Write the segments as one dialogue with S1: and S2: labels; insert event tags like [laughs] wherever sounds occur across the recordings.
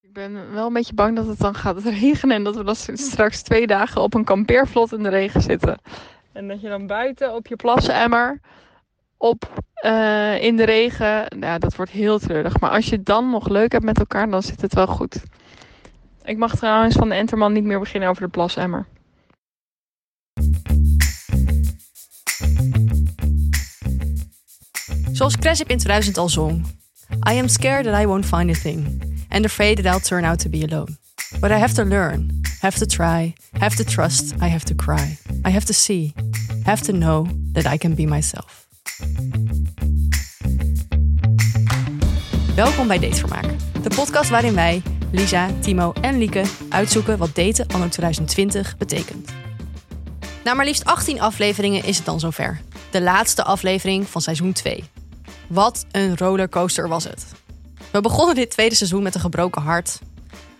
S1: Ik ben wel een beetje bang dat het dan gaat [laughs] regenen en dat we dan straks twee dagen op een kampeervlot in de regen zitten. En dat je dan buiten op je plassenemmer op eh, in de regen, nou, dat wordt heel treurig. Maar als je het dan nog leuk hebt met elkaar, dan zit het wel goed. Ik mag trouwens van de Enterman niet meer beginnen over de plasemmer.
S2: Zoals Cresip in 2000 al zong. I am scared that I won't find a thing. And afraid that I'll turn out to be alone. But I have to learn. Have to try. Have to trust. I have to cry. I have to see. Have to know that I can be myself. Welkom bij Datevermaak. De podcast waarin wij, Lisa, Timo en Lieke uitzoeken wat daten anno 2020 betekent. Na maar liefst 18 afleveringen is het dan zover. De laatste aflevering van seizoen 2. Wat een rollercoaster was het. We begonnen dit tweede seizoen met een gebroken hart,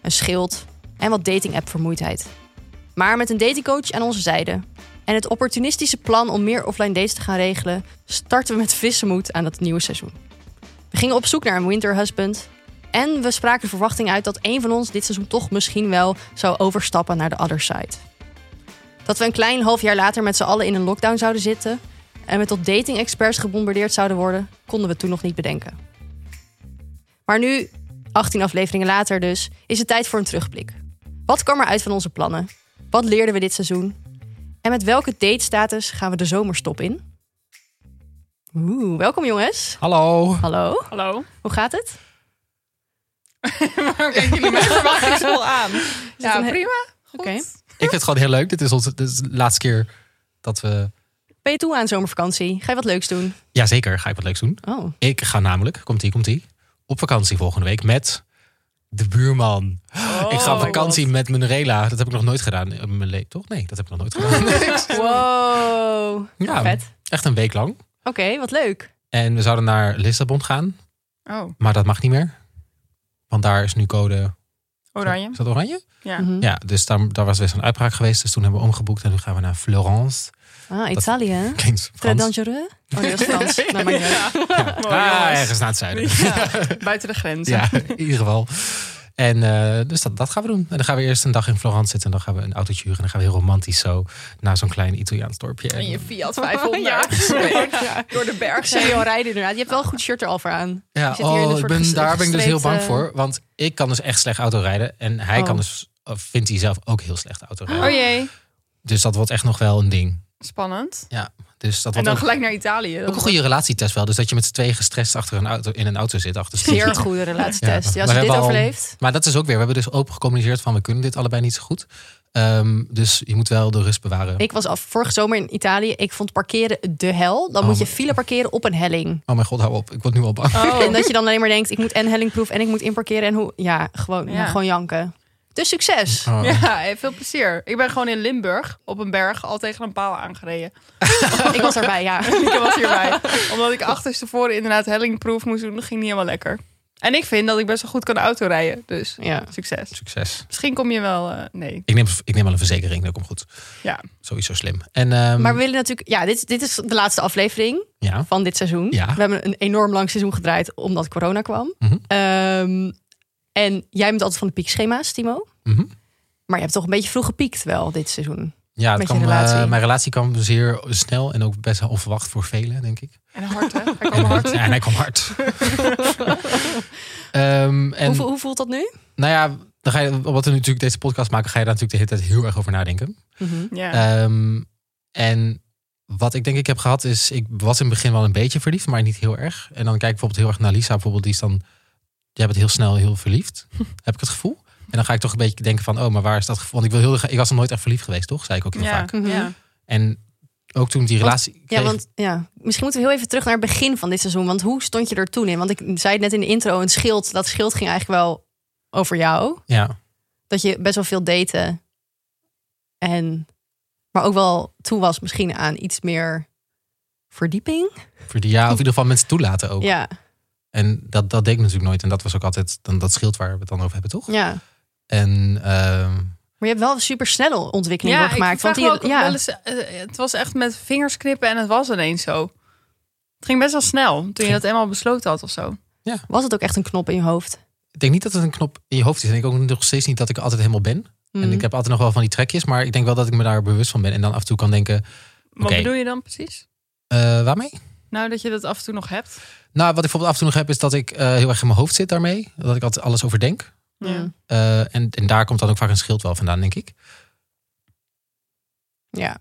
S2: een schild en wat dating app vermoeidheid. Maar met een datingcoach aan onze zijde en het opportunistische plan om meer offline dates te gaan regelen, starten we met frisse moed aan dat nieuwe seizoen. We gingen op zoek naar een winter husband en we spraken de verwachting uit dat een van ons dit seizoen toch misschien wel zou overstappen naar de other side. Dat we een klein half jaar later met z'n allen in een lockdown zouden zitten en met tot dating-experts gebombardeerd zouden worden, konden we toen nog niet bedenken. Maar nu, 18 afleveringen later dus, is het tijd voor een terugblik. Wat kwam er uit van onze plannen? Wat leerden we dit seizoen? En met welke datestatus gaan we de zomerstop in? Oeh, welkom jongens.
S3: Hallo.
S2: Hallo,
S1: Hallo?
S2: hoe gaat
S1: [laughs]
S2: het?
S1: Waarom kijken jullie [laughs] met verwachtingsvol aan?
S2: het
S1: Ja,
S2: een he-
S1: prima.
S2: Oké.
S3: Ik vind het gewoon heel leuk. Dit is, onze, dit is de laatste keer dat we...
S2: Ben je toe aan zomervakantie? Ga je wat leuks doen?
S3: Jazeker, ga ik wat leuks doen.
S2: Oh,
S3: Ik ga namelijk, komt-ie, komt-ie, op vakantie volgende week met de buurman. ik ga op
S2: Oh,
S1: my
S3: vakantie met Manuela. Dat heb ik nog nooit gedaan in mijn leven, toch? Nee, dat heb ik nog nooit gedaan.
S2: wow.
S3: Ja.
S2: Vet.
S3: Echt een week lang.
S2: Oké, wat leuk.
S3: En we zouden naar Lissabon gaan,
S1: Oh,
S3: maar dat mag niet meer. Want daar is nu code...
S1: oranje.
S3: Is dat oranje?
S1: Ja.
S2: Mhm.
S3: Ja, dus daar, daar was best een uitbraak geweest. Dus toen hebben we omgeboekt en nu gaan we naar Florence.
S2: Ah, Italië. hè?
S3: Klinkt
S2: Très
S3: Frans.
S2: dangereux. Oh, nee, dat is
S3: [laughs]
S2: Frans. Nou, maakt niet uit.
S3: Ja,
S1: Mooi,
S3: daar
S1: jongens.
S3: ergens naar het zuiden. [laughs]
S1: Buiten de grenzen.
S3: Ja, in ieder geval. En eh, dus dat, dat gaan we doen. En dan gaan we eerst een dag in Florence zitten. En dan gaan we een autootje huren. En dan gaan we heel romantisch zo naar zo'n klein Italiaans dorpje. En,
S4: In je
S1: [laughs]
S4: Fiat
S2: Ja.
S4: 500 [laughs] door de berg.
S2: Seriejo rijden inderdaad. Je hebt wel een goed shirt er al voor aan.
S3: ja,
S2: je zit hier in een
S3: oh, ik
S2: soort
S3: ben,
S2: ges-
S3: daar ben ik dus heel
S2: gestreken-
S3: bang voor. Want ik kan dus echt slecht autorijden. En hij
S2: Oh.
S3: kan dus, of vindt hij zelf ook heel slecht autorijden.
S1: Oh jee.
S3: Dus dat wordt echt nog wel een ding.
S1: Spannend.
S3: Dus dat
S4: En
S3: wordt
S4: dan
S3: ook,
S4: gelijk naar Italië.
S3: ook een goede relatietest wel. Dus dat je met z'n tweeën gestrest achter een auto, in een auto zit. Achter stuur.
S2: Zeer goede relatietest.
S3: Ja,
S2: Ja, als je
S3: maar
S2: dit
S3: we hebben al-
S2: overleeft.
S3: Maar dat is ook weer. We hebben dus open gecommuniceerd van we kunnen dit allebei niet zo goed. Ehm, dus je moet wel de rust bewaren.
S2: Ik was af vorige zomer in Italië. Ik vond parkeren de hel. Dan
S3: Oh,
S2: moet je
S3: maar-
S2: file parkeren op een helling.
S3: Oh mijn god, hou op. Ik word nu al
S2: [laughs]
S3: bang.
S1: Oh, [laughs]
S2: En dat je dan alleen maar denkt, ik moet en hellingproef en ik moet inparkeren. En hoe, ja, gewoon, ja,
S1: Ja.
S2: gewoon janken. Dus succes.
S3: Oh.
S1: Ja, eh, veel plezier. Ik ben gewoon in Limburg op een berg al tegen een paal aangereden. [laughs]
S3: Oh.
S2: Ik was erbij, ja.
S1: Ik was hierbij. Omdat ik achterstevoren inderdaad hellingproef moest doen, dat ging niet helemaal lekker. En ik vind dat ik best wel goed kan autorijden. Dus
S2: ja.
S1: succes.
S3: Succes.
S1: Misschien kom je wel. eh, nee.
S3: Ik neem, ik neem al een verzekering, dat komt goed.
S1: Ja.
S3: Sowieso slim. En, ehm,
S2: Maar we willen natuurlijk, ja, dit, dit is de laatste aflevering
S3: ja.
S2: van dit seizoen.
S3: Ja.
S2: We hebben een enorm lang seizoen gedraaid omdat corona kwam.
S3: Mhm.
S2: Ehm, en jij bent altijd van de piekschema's, Timo.
S3: Mhm.
S2: Maar je hebt toch een beetje vroeg gepiekt wel dit seizoen.
S3: Ja, het
S2: Met je
S3: kwam, eh,
S2: relatie.
S3: mijn relatie kwam zeer snel en ook best wel onverwacht voor velen, denk ik.
S1: En hard, hè? Hij kwam
S3: En,
S1: hard.
S3: [laughs] ja, en hij kwam
S2: [laughs]
S3: hard. Ehm, en
S2: hoe, vo- hoe voelt dat nu?
S3: nou ja, dan ga je, wat we nu natuurlijk deze podcast maken, ga je daar natuurlijk de hele tijd heel erg over nadenken.
S1: [laughs] Ja.
S3: Ehm, en wat ik denk ik heb gehad is, ik was in het begin wel een beetje verliefd, maar niet heel erg. En dan kijk ik bijvoorbeeld heel erg naar Lisa, bijvoorbeeld die is dan, jij bent heel snel heel
S2: [laughs]
S3: verliefd, heb ik het gevoel. En dan ga ik toch een beetje denken van, oh, maar waar is dat gevoel? Want ik, wil heel, erg- ik was nog nooit echt verliefd geweest, toch? Zei ik ook heel
S1: ja.
S3: vaak.
S2: Mhm.
S1: ja.
S3: En ook toen ik die relatie kreeg,
S2: Ja, want ja, misschien moeten we heel even terug naar het begin van dit seizoen. Want hoe stond je er toen in? Want ik zei het net in de intro, een schild, dat schild ging eigenlijk wel over jou.
S3: ja,
S2: Dat je best wel veel daten. En, maar ook wel toe was misschien aan iets meer verdieping.
S3: voor die ja, of in ieder geval mensen toelaten ook.
S2: Ja,
S3: En dat, dat deed ik natuurlijk nooit. En dat was ook altijd dan dat schild waar we het dan over hebben, toch?
S2: ja.
S3: En
S2: Maar
S3: ehm,
S2: je hebt wel een supersnelle ontwikkeling
S1: Ja, ik
S2: doorgemaakt.
S1: vraag
S2: want
S1: me
S2: die-
S1: ook
S2: ja,
S1: wel eens, eh, het was echt met vingers knippen en het was ineens zo. Het ging best wel snel toen je dat eenmaal besloten had of zo.
S2: was het ook echt een knop in je hoofd?
S3: ik denk niet dat het een knop in je hoofd is. En ik denk ook nog steeds niet dat ik er altijd helemaal ben. En
S2: Mhm.
S3: ik heb altijd nog wel van die trekjes. Maar ik denk wel dat ik me daar bewust van ben. En dan af en toe kan denken,
S1: Wat
S3: Oké.
S1: bedoel je dan precies?
S3: eh, waarmee?
S1: Nou, dat je dat af en toe nog hebt.
S3: Nou, wat ik bijvoorbeeld af en toe nog heb, is dat ik eh, heel erg in mijn hoofd zit daarmee. Dat ik altijd alles overdenk.
S2: Ja.
S3: Eh, en, en daar komt dan ook vaak een schild wel vandaan, denk ik.
S2: Ja.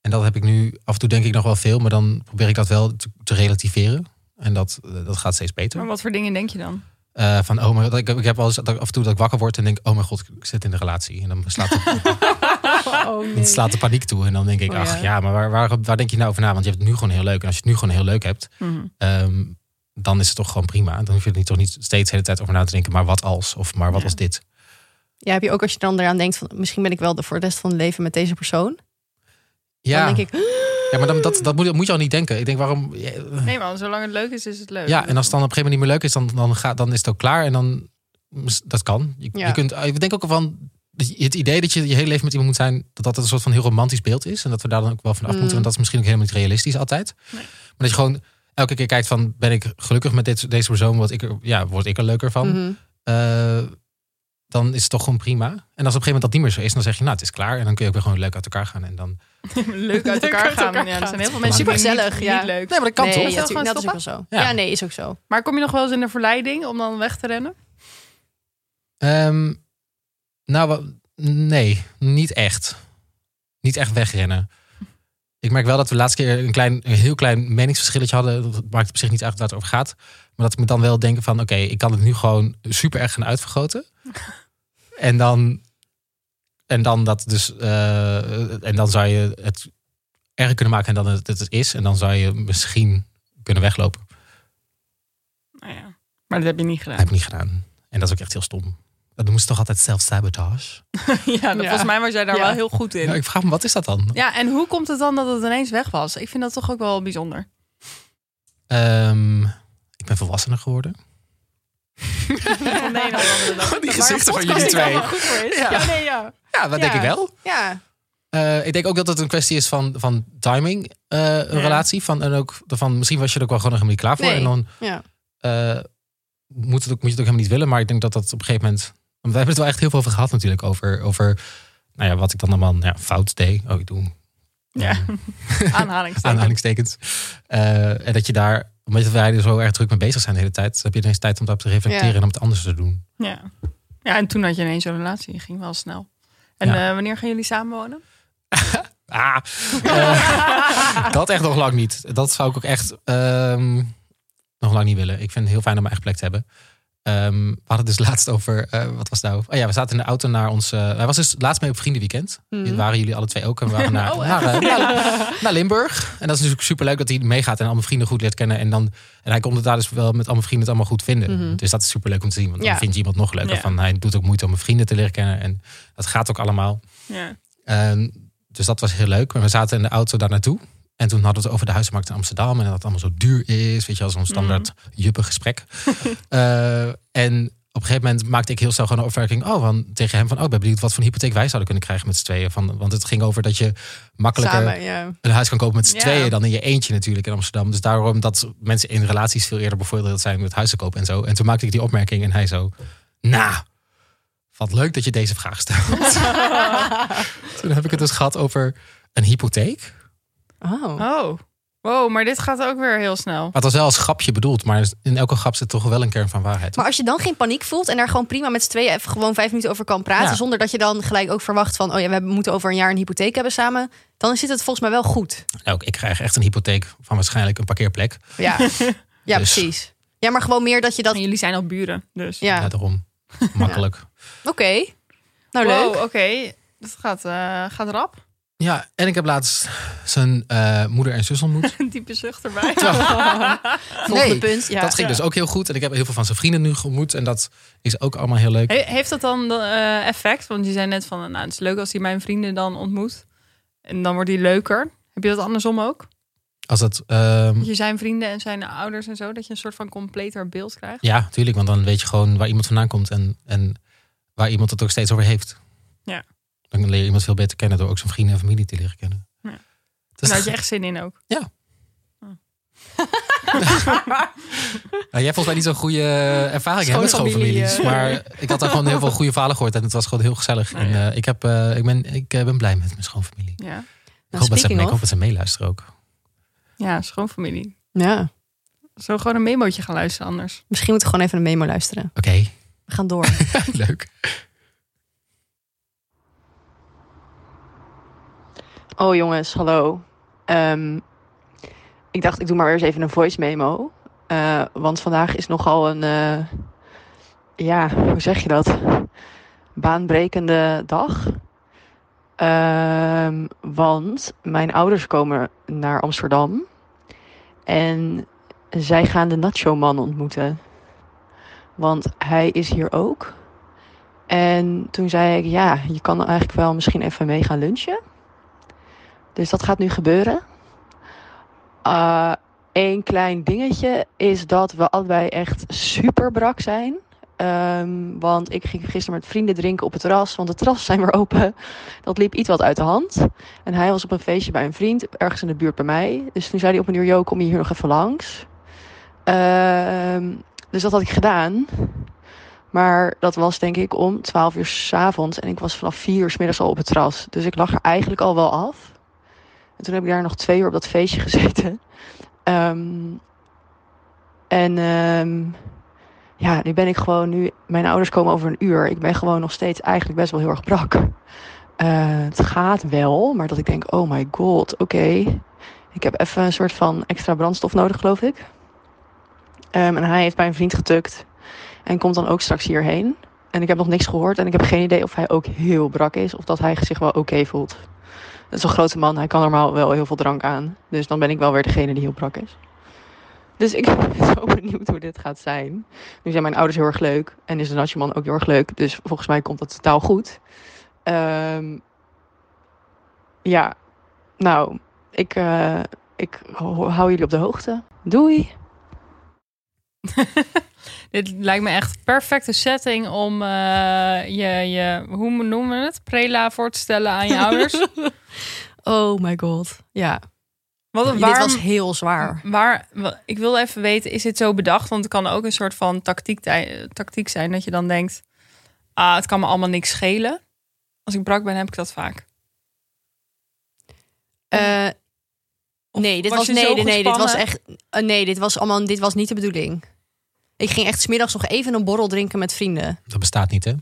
S3: En dat heb ik nu af en toe denk ik nog wel veel, maar dan probeer ik dat wel te, te relativeren. En dat, eh, dat gaat steeds beter.
S1: Maar wat voor dingen denk je dan?
S3: Eh, van, oh mijn, ik, ik heb wel eens dat ik af en toe dat ik wakker word en denk, oh mijn god, ik zit in een relatie. En dan slaat de,
S2: [laughs] Oh,
S3: dan slaat de paniek toe. En dan denk ik,
S2: Oh,
S3: ach
S2: ja.
S3: ja, maar waar, waar, waar denk je nou over na? Want je hebt het nu gewoon heel leuk. En als je het nu gewoon heel leuk hebt,
S1: Mhm.
S3: ehm, dan is het toch gewoon prima. Dan hoef je er niet, toch niet steeds de hele tijd over na te denken, maar wat als? Of maar wat
S1: Ja.
S3: als dit?
S2: Ja, heb je ook als je dan eraan denkt van misschien ben ik wel de- voor de rest van het leven met deze persoon.
S3: Ja,
S2: Dan denk ik,
S3: ja maar dan, dat, dat, moet, dat moet je al niet denken. Ik denk, waarom...
S1: Nee man, zolang het leuk is, is het [laughs] leuk.
S3: Ja, en als het dan op een gegeven moment niet meer leuk is, dan, dan, gaat, dan is het ook klaar. En dan, dus dat kan. Je,
S2: Ja.
S3: je kunt, ah, ik denk ook van, dat je- het idee dat je je hele leven met iemand moet zijn, dat dat een soort van heel romantisch beeld is. En dat we daar dan ook wel van af moeten,
S2: Mm.
S3: want dat is misschien ook helemaal niet realistisch altijd. Maar dat je gewoon elke keer kijkt van, ben ik gelukkig met dit, deze persoon, wat ik er, ja, word ik er leuker van?
S2: mhm.
S3: Eh, dan is het toch gewoon prima. En als op een gegeven moment dat niet meer zo is, dan zeg je, nou, het is klaar. En dan kun je ook weer gewoon leuk uit elkaar gaan. En dan,
S1: leuk uit elkaar gaan. ja, er zijn heel veel mensen die
S2: Supergezellig,
S1: niet,
S2: ja.
S1: niet leuk.
S3: nee, maar dat kan
S2: nee,
S3: toch?
S1: Is dat
S2: natuurlijk,
S1: gewoon
S2: dat is ook wel zo. Ja.
S3: Ja.
S2: nee, is ook zo.
S1: Maar kom je nog wel eens in de verleiding om dan weg te rennen?
S3: Ehm, nou, wa- nee, niet echt. Niet echt wegrennen. Ik merk wel dat we de laatste keer een, klein, een heel klein meningsverschilletje hadden. Dat maakt op zich niet uit waar het over gaat. Maar dat ik me dan wel denken van... oké, ik kan het nu gewoon super erg gaan uitvergroten. en dan... En dan dat dus... eh, en dan zou je het erger kunnen maken dan het, het is. En dan zou je misschien kunnen weglopen.
S1: Nou ja. Maar dat heb je niet
S3: Dat
S1: gedaan.
S3: heb ik niet gedaan. En dat is ook echt heel stom. Dat moest toch altijd zelfsabotage?
S1: [laughs] Ja, dat-
S2: Ja.
S1: volgens mij was jij daar
S2: Ja.
S1: wel heel goed in.
S3: Ja,
S1: Ja,
S3: Nou, ik vraag me, wat is dat dan?
S1: en hoe komt het dan dat het ineens weg was? Ik vind dat toch ook wel [laughs] bijzonder.
S3: Ehm, ik ben volwassener geworden.
S1: Van de ene op de andere
S3: [laughs]
S1: dag.
S3: die
S1: Waar
S3: gezichten van
S1: een
S3: jullie twee.
S1: podcast niet allemaal goed voor is.
S3: Ja.
S1: Ja. nee, ja.
S3: Ja, dat
S1: Ja.
S3: denk ik wel.
S2: Ja,
S3: Eh, ik denk ook dat het een kwestie is van, van timing, eh, een
S1: Ja.
S3: relatie. Van, en ook van, misschien was je er ook wel gewoon nog helemaal niet klaar voor.
S2: Nee.
S3: En dan
S2: ja.
S3: eh, moet, het ook, moet je het ook helemaal niet willen. Maar ik denk dat dat op een gegeven moment... Want we hebben het wel echt heel veel over gehad natuurlijk. Over, over nou ja, wat ik dan allemaal nou ja, fout deed. Oh, ik doe
S1: Ja. Aanhalingstekens.
S3: [laughs] aanhalingstekens. Eh, en dat je daar, omdat wij er zo erg druk mee bezig zijn de hele tijd... heb je ineens tijd om daarop te reflecteren
S2: Ja.
S3: en om het anders te doen.
S1: Ja. ja, en toen had je ineens zo'n relatie. Dat ging wel snel. En
S3: Ja.
S1: eh, wanneer gaan jullie samenwonen?
S3: Ah, eh, [laughs] dat echt nog lang niet. Dat zou ik ook echt ehm, nog lang niet willen. Ik vind het heel fijn om mijn eigen plek te hebben. Ehm, we hadden het dus [laughs] laatst over, eh, wat was het nou? Oh ja, we zaten in de auto naar ons... eh, hij was dus laatst mee op vriendenweekend.
S2: Mhm. Oh,
S3: Waren jullie alle twee ook. En we
S2: [laughs]
S3: waren naar, naar, eh, naar- naar Limburg. En dat is natuurlijk superleuk dat hij meegaat en allemaal vrienden goed leert kennen. En, dan, en hij komt het daar dus wel met allemaal vrienden het allemaal goed vinden.
S2: Mhm.
S3: Dus dat is superleuk om te zien. Want
S2: Ja.
S3: dan vind je iemand nog leuker.
S1: Ja.
S3: Van, hij doet ook moeite om mijn vrienden te leren kennen. En dat gaat ook allemaal.
S1: Ja.
S3: Ehm, dus dat was heel leuk. Maar we zaten in de auto daar naartoe. En toen hadden we het over de huizenmarkt in Amsterdam. En dat het allemaal zo duur is. Weet je, als een standaard juppe gesprek. [laughs] Eh, en op een gegeven moment maakte ik heel snel gewoon een opmerking. Oh, van, tegen hem van, oh, ik ben benieuwd wat voor een hypotheek wij zouden kunnen krijgen met z'n tweeën. Van, want het ging over dat je makkelijker
S2: Samen, ja.
S3: een huis kan kopen met z'n
S1: Ja.
S3: tweeën dan in je eentje natuurlijk in Amsterdam. Dus daarom dat mensen in relaties veel eerder bevoordeeld zijn met huizen kopen en zo. En toen maakte ik die opmerking en hij zo, nou, wat leuk dat je deze vraag stelt. toen heb ik het dus gehad over een hypotheek.
S2: Oh.
S1: Oh, wow, maar dit gaat ook weer heel snel.
S3: Wat was wel als grapje bedoeld, maar in elke grap zit toch wel een kern van waarheid.
S2: Maar als je dan geen paniek voelt en daar gewoon prima met z'n tweeën even gewoon vijf minuten over kan praten.
S3: Ja.
S2: Zonder dat je dan gelijk ook verwacht van, oh ja, we hebben- moeten over een jaar een hypotheek hebben samen. Dan zit het volgens mij wel goed.
S3: Nou, Ook, ik krijg echt een hypotheek van waarschijnlijk een parkeerplek. [laughs]
S2: Ja, ja
S3: Dus.
S2: precies. Ja, maar gewoon meer dat je dat...
S1: En jullie zijn al buren, dus.
S2: Ja,
S3: Ja,
S2: oké.
S3: daarom. Makkelijk.
S2: Nou,
S1: wow,
S5: oh,
S2: leuk.
S1: oké. Dat gaat, eh, gaat rap. [laughs]
S3: Ja, en ik heb laatst zijn eh, moeder en zus ontmoet.
S1: [laughs] Een diepe zucht erbij.
S2: [laughs] Volgende
S3: Nee,
S2: punt. Ja.
S3: dat ging dus ook heel goed. En ik heb heel veel van zijn vrienden nu ontmoet. En dat is ook allemaal heel leuk.
S1: He- heeft dat dan eh, effect? Want je zei net van, nou, het is leuk als hij mijn vrienden dan ontmoet. En dan wordt hij leuker. Heb je dat andersom ook?
S3: Als dat,
S2: Hm.
S3: ehm,
S1: Dat je zijn vrienden en zijn ouders en zo, dat je een soort van completer beeld krijgt.
S3: ja, tuurlijk. Want dan weet je gewoon waar iemand vandaan komt. En, en waar iemand het ook steeds over heeft.
S1: Ja.
S3: Dan leer je iemand veel beter
S1: Nou,
S3: kennen door ook zijn vrienden en familie te leren kennen.
S1: Ja.
S3: Dus
S1: [laughs] En daar had je echt zin in ook.
S3: [laughs] Nou, jij hebt volgens mij niet zo'n goede eh, ervaring hè, met
S1: Schoonfamilie,
S3: schoonfamilies. Maar ik had daar gewoon heel veel goede verhalen gehoord. En het was gewoon heel gezellig.
S4: Nou
S3: en,
S4: ja.
S3: eh, ik, heb, eh, ik, ben, ik eh, ben blij met mijn schoonfamilie.
S4: Ja,
S3: ik,
S5: Nou,
S3: hoop dat ze,
S5: speaking
S3: ik hoop
S5: of.
S3: dat ze meeluisteren ook.
S4: ja schoonfamilie.
S5: Ja,
S4: Zo gewoon een memootje gaan luisteren anders.
S5: misschien moeten we gewoon even een memo luisteren.
S3: Oké,
S5: [laughs] We gaan door.
S3: leuk.
S2: Oh jongens, hallo. Ehm, ik dacht, ik doe maar weer eens even een voice memo. Eh, want vandaag is nogal een, eh, ja, hoe zeg je dat? Baanbrekende dag. Ehm, want mijn ouders komen naar Amsterdam. En zij gaan de Nacho-man ontmoeten. Want hij is hier ook. En toen zei ik, ja, je kan eigenlijk wel misschien even mee gaan lunchen. Dus dat gaat nu gebeuren. Eén klein dingetje is dat we allebei echt super brak zijn. Ehm, want ik ging gisteren met vrienden drinken op het terras, want de terras zijn weer open. Dat liep iets wat uit de hand. En hij was op een feestje bij een vriend, ergens in de buurt bij mij. Dus toen zei hij op een uur, Jo, kom je hier nog even langs? Ehm, dus dat had ik gedaan. Maar dat was denk ik om 12 uur 's avonds en ik was vanaf 4 uur 's middags al op het terras. Dus ik lag er eigenlijk al wel af. En toen heb ik daar nog twee uur op dat feestje gezeten. Ehm, en ehm, ja, nu ben ik gewoon nu. Mijn ouders komen over een uur. Ik ben gewoon nog steeds eigenlijk best wel heel erg brak. Eh, het gaat wel, maar dat ik denk: oh my god, oké. Ik heb even een soort van extra brandstof nodig, geloof ik. Ehm, en hij heeft bij een vriend getukt. En komt dan ook straks hierheen. En ik heb nog niks gehoord. En ik heb geen idee of hij ook heel brak is. Of dat hij zich wel oké voelt. Het is een grote man, hij kan normaal wel heel veel drank aan. Dus dan ben ik wel weer degene die heel brak is. Dus ik [laughs] ben zo benieuwd hoe dit gaat zijn. Nu zijn mijn ouders heel erg leuk en is de Nachtjeman ook heel erg leuk. Dus volgens mij komt dat totaal goed. Ehm, ja, nou, ik, eh, ik ho- hou jullie op de hoogte. Doei!
S4: Dit lijkt me echt perfecte setting om eh, je, je, hoe noemen we het? Prela voor te stellen aan
S5: [laughs]
S4: je ouders.
S5: Oh my god. Ja,
S4: Wat een
S5: dit
S4: warm,
S5: was heel zwaar.
S4: Waar, wa- ik wil even weten, is dit zo bedacht? Want het kan ook een soort van tactiek, tij- tactiek zijn dat je dan denkt... Ah, het kan me allemaal niks schelen. Als ik brak ben, heb ik dat vaak.
S5: Eh,
S4: Of
S5: nee, dit
S4: was
S5: was,
S4: je zo
S5: nee, nee, nee, dit was
S4: gespannen?
S5: echt. eh, nee, dit was allemaal. Dit was niet de bedoeling. Ik ging echt smiddags nog even een borrel drinken met vrienden.
S3: Dat bestaat niet, hè?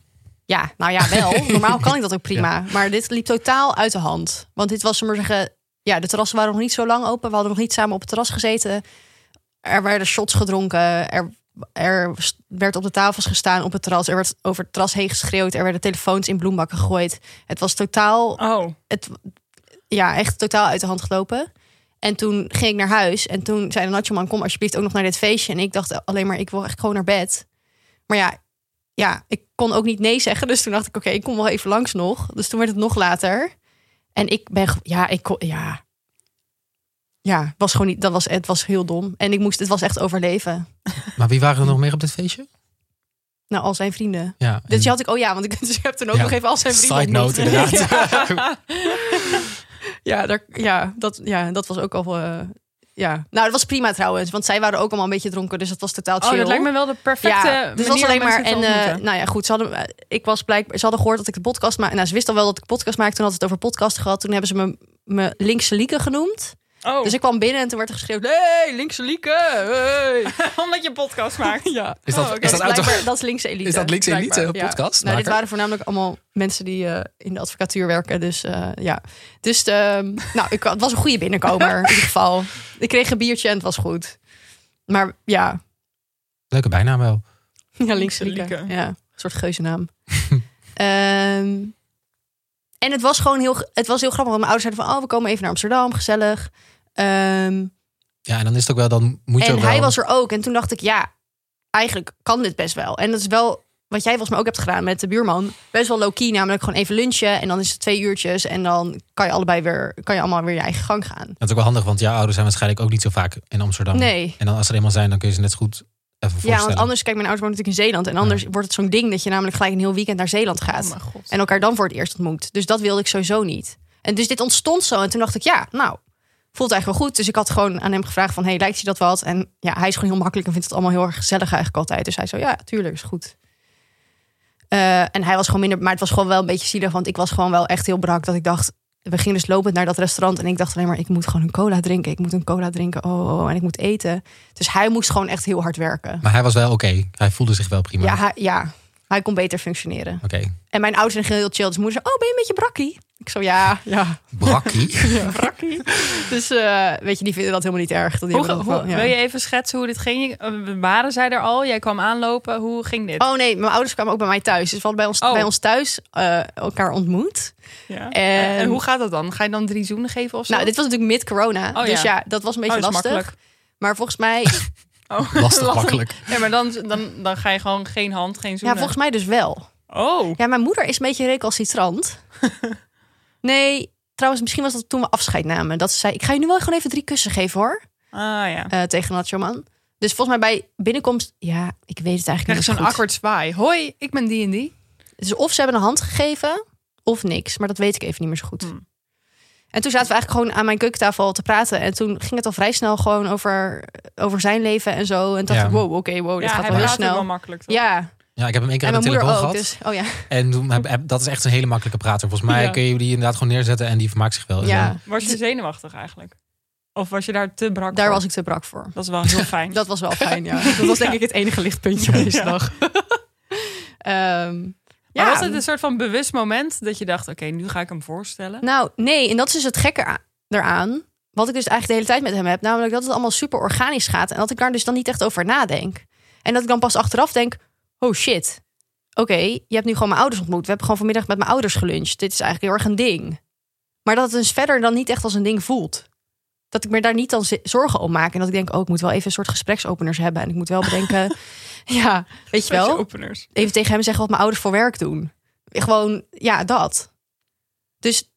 S5: Ja, nou ja, wel. Normaal kan ik dat ook prima. Maar dit liep totaal uit de hand. Want dit was, zullen we maar zeggen. Ja, de terrassen waren nog niet zo lang open. We hadden nog niet samen op het terras gezeten. Er werden shots gedronken. Er, er s- werd op de tafels gestaan op het terras. Er werd over het terras heen geschreeuwd. Er werden telefoons in bloembakken gegooid. Het was totaal
S4: Oh,
S5: het, ja, echt totaal uit de hand gelopen. En toen ging ik naar huis en toen zei de Natjeman, kom alsjeblieft ook nog naar dit feestje. En ik dacht alleen maar, ik wil echt gewoon naar bed. Maar ja, ja ik kon ook niet nee zeggen. Dus toen dacht ik, oké, ik kom wel even langs nog. Dus toen werd het nog later. En ik ben, ge- ja, ik kon, ja. Ja, was gewoon niet, dat was, het was heel dom. En ik moest, het was echt overleven.
S3: Maar wie waren er nog meer op dit feestje?
S5: Nou, al zijn vrienden.
S3: Ja, en-
S5: Dus je had ik, oh ja, want ik, [laughs] dus ik heb toen ook
S3: Ja,
S5: nog even al zijn vrienden
S3: Side note,
S5: ontmoet. [laughs]
S3: inderdaad.
S5: Ja, daar, ja, dat, ja, dat was ook al. eh, ja. Nou, dat was prima trouwens, want zij waren ook allemaal een beetje dronken, dus dat was totaal chill.
S4: oh dat lijkt me wel de perfecte
S5: ja, dus het was
S4: manier
S5: alleen
S4: om
S5: maar. En
S4: mensen te
S5: eh,
S4: ontmoeten.
S5: nou ja, goed. Ze hadden, eh, ik was blijkbaar. Ze hadden gehoord dat ik de podcast maak. Nou, ze wist al wel dat ik de podcast maakte. Toen had het over podcast gehad. Toen hebben ze me, me linkse Lieke genoemd.
S4: oh,
S1: [laughs]
S5: Dus ik kwam binnen en toen werd er geschreeuwd: Hey, linkse Lieke!
S4: [laughs]
S5: Hey.
S4: omdat je een podcast
S5: [laughs]
S4: maakt.
S5: ja.
S3: Is dat,
S4: Oh, oké.
S3: is dat, auto-
S5: blijkbaar- dat is linkse
S3: [laughs]
S5: elite.
S3: is dat links elite,
S5: blijkbaar,
S3: een
S5: ja.
S3: podcast?
S5: Nou, dit waren voornamelijk allemaal mensen die eh, in de advocatuur werken. Dus eh, ja. Dus ehm, [laughs] nou, ik, het was een goede binnenkomer in ieder geval. Ik kreeg een biertje en het was goed. Maar ja,
S3: Leuke bijnaam wel.
S5: ja links
S4: Linkse
S5: Lieke.
S4: Lieke.
S5: Ja, een soort
S3: [laughs]
S5: geuzennaam. Ehm, en het was gewoon heel, het was heel grappig. Want mijn ouders zeiden van, oh, we komen even naar Amsterdam, gezellig. Ehm,
S3: Ja, en dan is het ook wel, dan moet je
S5: en
S3: ook wel...
S5: hij was er ook. En toen dacht ik, ja, eigenlijk kan dit best wel. En dat is wel wat jij volgens mij ook hebt gedaan met de buurman. Best wel low-key, namelijk gewoon even lunchen. En dan is het twee uurtjes. En dan kan je allebei weer, kan je allemaal weer je eigen gang gaan.
S3: Dat is ook wel handig, want jouw ouders zijn waarschijnlijk ook niet zo vaak in Amsterdam.
S5: Nee.
S3: En dan als ze er eenmaal zijn, dan kun je ze net zo goed even voorstellen.
S5: Ja, want anders, kijk, mijn ouders wonen natuurlijk in Zeeland. En anders wordt het zo'n ding dat je namelijk gelijk een heel weekend naar Zeeland gaat.
S4: Oh mijn god.
S5: en elkaar dan voor het eerst ontmoet. Dus dat wilde ik sowieso niet. En dus dit ontstond zo. En toen dacht ik, ja, nou, voelt eigenlijk wel goed. Dus ik had gewoon aan hem gevraagd van, hey, lijkt je dat wat? En ja, hij is gewoon heel makkelijk en vindt het allemaal heel erg gezellig eigenlijk altijd. Dus hij zo, ja, tuurlijk, is goed. Eh, en hij was gewoon minder, maar het was gewoon wel een beetje zielig, want ik was gewoon wel echt heel brak dat ik dacht, we gingen dus lopend naar dat restaurant en ik dacht alleen maar, ik moet gewoon een cola drinken, ik moet een cola drinken, oh, oh, oh, en ik moet eten. Dus hij moest gewoon echt heel hard werken.
S3: Maar hij was wel oké. Hij voelde zich wel prima.
S5: Ja, hij, ja, hij kon beter functioneren.
S3: Oké.
S5: [laughs] En mijn ouders zijn heel chill. Dus moeder zei, oh, ben je een beetje brakkie? Ik zo, ja,
S1: [laughs]
S5: ja,
S3: Brakkie.
S5: brakkie. [laughs] dus eh, weet je, die vinden dat helemaal niet erg. Dat die
S1: Hoe,
S5: hebben
S1: hoe-
S5: dat wel- ja.
S1: Wil je even schetsen hoe dit ging? Eh, Waren zij er al? Jij kwam aanlopen. Hoe ging dit?
S5: Oh nee, mijn ouders kwamen ook bij mij thuis. Dus we hadden bij ons,
S1: Oh.
S5: bij ons thuis eh, elkaar ontmoet.
S1: Ja.
S5: En-
S1: En, hoe gaat dat dan? Ga je dan drie zoenen geven of zo?
S5: Nou, dit was natuurlijk mid-corona.
S1: Oh,
S5: dus
S1: ja.
S5: ja, dat was een
S1: Oh,
S5: beetje
S1: dat is
S5: lastig.
S1: makkelijk. [laughs]
S5: Maar volgens mij, [laughs]
S1: Oh, [laughs]
S3: Lastig, makkelijk.
S1: Ja, maar dan, dan, dan ga je gewoon geen hand, geen
S5: ja,
S1: zoenen.
S5: volgens mij dus wel.
S1: Oh,
S5: Ja, mijn moeder is een beetje
S1: [laughs]
S5: recalcitrant. nee, trouwens, misschien was dat toen we afscheid namen. Dat ze zei, ik ga je nu wel gewoon even drie kussen geven hoor.
S1: ah ja.
S5: eh, tegen Nacho Man. Dus volgens mij bij binnenkomst, ja, ik weet het eigenlijk
S1: Krijg je
S5: niet.
S1: zo'n
S5: zo goed.
S1: awkward zwaai. Hoi, ik ben die en die.
S5: Dus of ze hebben een hand gegeven, of niks. Maar dat weet ik even niet meer zo goed.
S1: Hmm.
S5: En toen zaten we eigenlijk gewoon aan mijn keukentafel te praten. En toen ging het al vrij snel gewoon over, over zijn leven en zo. En dacht
S3: Ja.
S5: ik, wow, oké, wow, dit
S1: ja,
S5: gaat
S1: hij
S5: wel heel
S1: praat ook wel
S5: snel.
S1: makkelijk. toch?
S5: Ja,
S3: Ja, ik heb hem één keer
S5: en
S3: aan
S5: mijn
S3: de telefoon
S5: moeder ook.
S3: gehad.
S5: Dus, oh ja,
S3: En toen heb- heb- dat is echt een hele makkelijke prater. Volgens mij
S1: Ja.
S3: kun je die inderdaad gewoon neerzetten en die vermaakt zich wel. En
S5: ja.
S3: dan-
S1: Was je zenuwachtig eigenlijk? Of was je daar te brak
S5: daar
S1: voor?
S5: was ik te brak voor.
S1: Dat is wel
S5: [laughs]
S1: heel fijn.
S5: Dat was wel fijn, ja. [laughs] Dat was denk ik het enige lichtpuntje op deze
S1: Ja.
S5: dag. [laughs] Ehm,
S1: Maar
S5: ja.
S1: was het een soort van bewust moment dat je dacht, oké, nu ga ik hem voorstellen?
S5: Nou, nee, en dat is dus het gekke a- eraan. Wat ik dus eigenlijk de hele tijd met hem heb, namelijk dat het allemaal super organisch gaat en dat ik daar dus dan niet echt over nadenk. En dat ik dan pas achteraf denk: oh shit, oké, je hebt nu gewoon mijn ouders ontmoet. We hebben gewoon vanmiddag met mijn ouders geluncht. Dit is eigenlijk heel erg een ding. Maar dat het dus verder dan niet echt als een ding voelt. Dat ik me daar niet dan zi- zorgen om maak. En dat ik denk, oh, ik moet wel even een soort gespreksopeners hebben. En ik moet wel bedenken, [laughs] ja, weet je
S1: Met
S5: wel
S1: je openers.
S5: even tegen hem zeggen wat mijn ouders voor werk doen. Gewoon, ja, dat. Dus,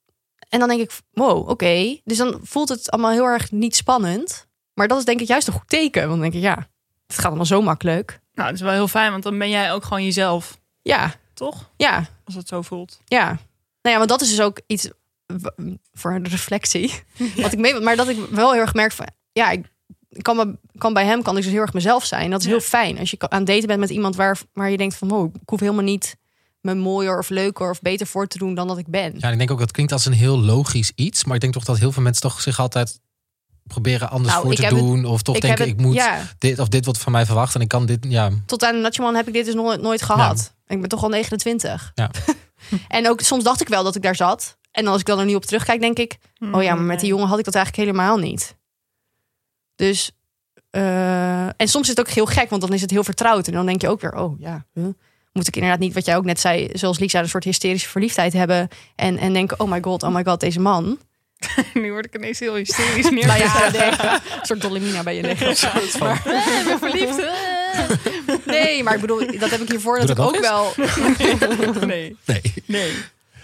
S5: en dan denk ik, wow, oké. Dus dan voelt het allemaal heel erg niet spannend. Maar dat is denk ik juist een goed teken. Want dan denk ik, ja, het gaat allemaal zo makkelijk.
S1: Nou, dat is wel heel fijn, want dan ben jij ook gewoon jezelf,
S5: Ja,
S1: toch?
S5: ja,
S1: Als het zo voelt.
S5: ja. Nou ja, want dat is dus ook iets w- voor een
S3: [laughs]
S5: reflectie. Wat ik mee, maar dat ik wel heel erg merk van, ja, ik ik kan, me- kan bij hem kan ik dus heel erg mezelf zijn. Dat is heel fijn. Als je ka- aan het daten bent met iemand waar, waar je denkt van, wow, ik hoef helemaal niet me mooier of leuker of beter voor te doen dan dat ik ben.
S3: Ja, en ik denk ook dat klinkt als een heel logisch iets. Maar ik denk toch dat heel veel mensen toch zich altijd proberen anders
S5: Nou,
S3: voor
S5: ik
S3: te
S5: heb het-
S3: doen. of toch
S5: ik
S3: denken,
S5: heb het-
S3: ik moet
S5: ja.
S3: dit of dit wordt van mij verwacht. En ik kan dit, ja.
S5: tot aan Natjeman heb ik dit dus nooit, nooit gehad. Ik ben toch al 29.
S3: Ja.
S5: [laughs] en ook soms dacht ik wel dat ik daar zat. En als ik dan er nu op terugkijk, denk ik... oh ja, maar met die jongen had ik dat eigenlijk helemaal niet. Dus... eh, en soms is het ook heel gek, want dan is het heel vertrouwd. En dan denk je ook weer, oh ja, huh? moet ik inderdaad niet... wat jij ook net zei, zoals Lisa, een soort hysterische verliefdheid hebben... en, en denken, oh my god, oh my god, deze man.
S1: [laughs] nu word ik ineens heel hysterisch neer.
S5: Nou ja, nee, een soort Dolomina bij je liggen of zo. Maar-
S1: ik ben verliefd. eh.
S5: Nee, maar ik bedoel, dat heb ik hiervoor
S3: Doe
S5: dat ik
S3: dat
S5: ook wel... [laughs]
S1: nee,
S3: Nee.
S1: nee.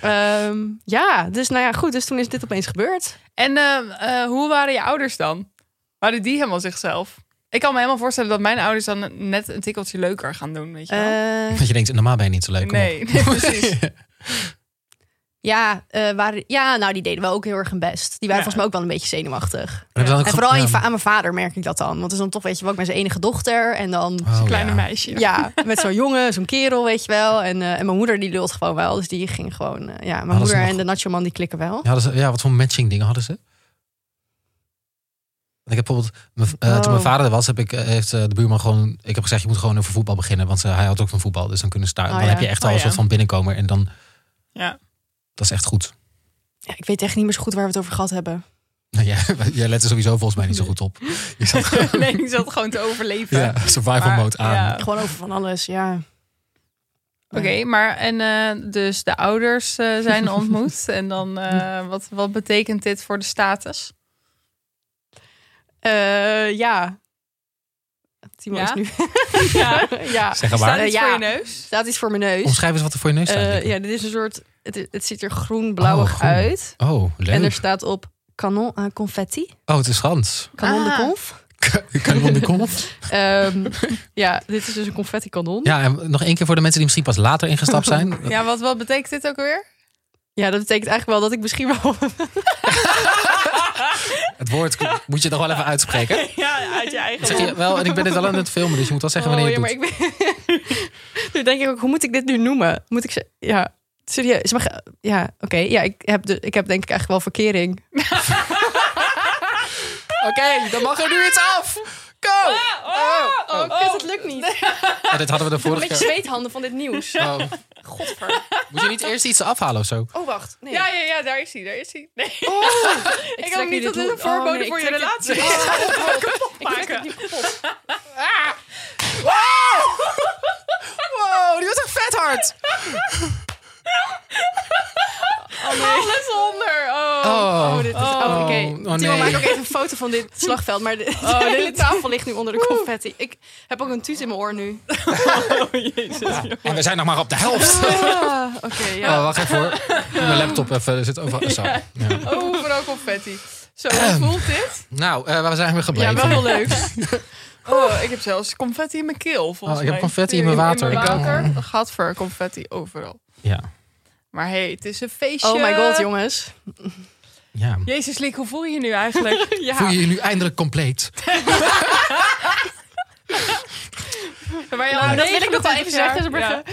S5: Ehm, ja, dus nou ja, goed. Dus toen is dit opeens gebeurd.
S1: En eh, eh, hoe waren je ouders dan? Waren die helemaal zichzelf? Ik kan me helemaal voorstellen dat mijn ouders dan net een tikkeltje leuker gaan doen, weet je wel?
S5: Eh,
S3: Dat je denkt, normaal ben je niet zo leuk. kom [laughs] op.
S1: [laughs] nee, nee, precies.
S5: ja, eh, waren, ja, nou, die deden wel ook heel erg hun best. Die waren
S1: Ja.
S5: volgens mij ook wel een beetje zenuwachtig.
S3: En, hebben ze dan ook
S5: En
S3: gewoon-
S5: vooral in
S3: ja.
S5: va- aan mijn vader merk ik dat dan. Want het is dan toch, weet je wel, ik ben zijn enige dochter. En dan,
S3: Oh,
S1: Kleine
S3: ja.
S1: meisje.
S5: ja, met zo'n jongen, zo'n kerel, weet je wel. En, eh, en mijn moeder, die lult gewoon wel. Dus die ging gewoon, eh, ja, mijn
S3: Hadden ze
S5: moeder
S3: nog-
S5: en de nacho man, die klikken wel.
S3: Ja, hadden ze- ja, wat voor matching dingen hadden ze? Want Ik heb bijvoorbeeld, mijn- eh, toen
S5: Oh.
S3: mijn vader er was, heb ik, eh, heeft eh, de buurman gewoon, ik heb gezegd, je moet gewoon over voetbal beginnen. Want eh, hij had ook van voetbal, dus dan kunnen ze daar,
S5: Oh,
S3: dan
S5: ja.
S3: heb je echt al
S1: Oh,
S3: een
S1: ja.
S3: soort van binnenkomen. En dan,
S1: Ja.
S3: dat is echt goed. [laughs]
S5: Ja, ik weet echt niet meer zo goed waar we het over gehad hebben.
S3: Nou, jij, jij let er sowieso volgens mij niet zo goed op. Je zat gewoon,
S1: [laughs] nee, die zat gewoon te
S3: [laughs]
S1: overleven.
S3: ja, [laughs] survival
S1: Maar,
S3: mode aan.
S1: ja.
S5: Gewoon over van alles, ja.
S1: Oké, maar en eh, dus de ouders eh,
S5: [laughs]
S1: zijn ontmoet. en dan, eh, wat, wat betekent dit voor de status?
S5: Eh, ja. Timo
S1: Ja?
S5: is nu... [laughs]
S1: [laughs] Ja.
S5: ja.
S3: Zeg maar
S1: Staat
S3: waar.
S1: iets
S5: Eh, ja.
S1: voor je neus?
S5: Staat iets voor mijn neus.
S3: Omschrijf eens wat er voor je neus staat.
S5: Eh,
S3: Nico.
S5: ja, dit is een soort. Het, is- het ziet er groen-blauwig
S3: Oh, groen.
S5: uit.
S3: Oh, leuk.
S5: En er staat op kanon aan confetti.
S3: Oh, het is Frans.
S5: Kanon
S1: Ah.
S5: de conf.
S3: Kan je om de komf?
S5: Ehm, [laughs] ja, dit is dus een confetti kanon. Ja.
S3: Ja, en nog één keer voor de mensen die misschien pas later ingestapt [laughs] zijn.
S1: Ja, wat, wat betekent dit ook alweer?
S5: dat betekent eigenlijk wel dat ik misschien wel.
S3: Het woord moet je toch wel even uitspreken.
S1: ja, uit je
S3: Ik
S1: eigen
S3: Zeg je, wel, en ik ben dit wel aan het filmen, dus je moet wel zeggen
S5: Oh,
S3: wanneer je
S5: ja,
S3: het
S5: maar
S3: doet.
S5: ik ben... [laughs] nu denk ik ook, hoe moet ik dit nu noemen? Moet ik ze... Ja, serieus. Maar, ge- ja, oké. Ja, ik heb, de, ik heb denk ik eigenlijk wel verkering.
S3: Oké, dan mag er nu iets af. Go!
S5: Oh, het lukt niet.
S3: Ah! Ja, dit hadden we de
S5: een
S3: vorige
S5: beetje
S3: keer.
S5: zweethanden van dit nieuws.
S3: Oh,
S5: [laughs] Godver.
S3: moet je niet eerst iets afhalen of zo?
S5: Oh, wacht. Nee. Oh.
S1: Ja, ja, ja, daar is hij, daar is hij.
S5: [laughs]
S1: Nee, ik
S5: trek
S1: hoop
S5: nu
S1: niet dat
S5: dit
S1: dit een
S5: hoe- oh,
S1: voorbode
S5: nee, ik
S1: voor je
S5: trek dit-
S1: relatie
S5: Oh,
S1: is. [laughs]
S5: oh, oh. Ik trek
S1: Maken.
S5: het niet kapot.
S3: Wow, die was echt vet
S5: [laughs]
S3: hard.
S1: Alles onder. Oh.
S3: Oh,
S5: Oh, dit is... Oh, oké.
S3: Oh,
S5: Timo, maak
S3: nee.
S5: ook even een foto van dit slagveld. Maar de, [laughs] de hele tafel ligt nu onder de confetti. Ik heb ook een tuut in mijn oor nu.
S3: En we zijn nog maar op de helft.
S5: Ah, oké, ja. [laughs]
S3: Oh, wacht even hoor. Mijn laptop even, er zit over. Zo. Ja.
S1: Overal confetti. Zo, hoe voelt dit?
S3: Nou, eh, waar zijn we
S1: Ja,
S3: gebleven?
S1: wel heel leuk. Oh, ik heb zelfs confetti in mijn keel, volgens mij.
S3: Oh, ik heb confetti in mijn water.
S1: In mijn
S3: Ik ook.
S1: water. Gadver, confetti overal.
S3: Ja.
S1: Maar hey, het is een feestje.
S5: Oh my god, jongens.
S3: Ja.
S1: Jezus, Liek, hoe voel je je nu [laughs] eigenlijk?
S3: Voel
S1: ja,
S3: je je nu eindelijk compleet?
S1: maar je
S5: Nou, dat wil ik nog wel even zeggen.
S1: Ja.
S5: Ja,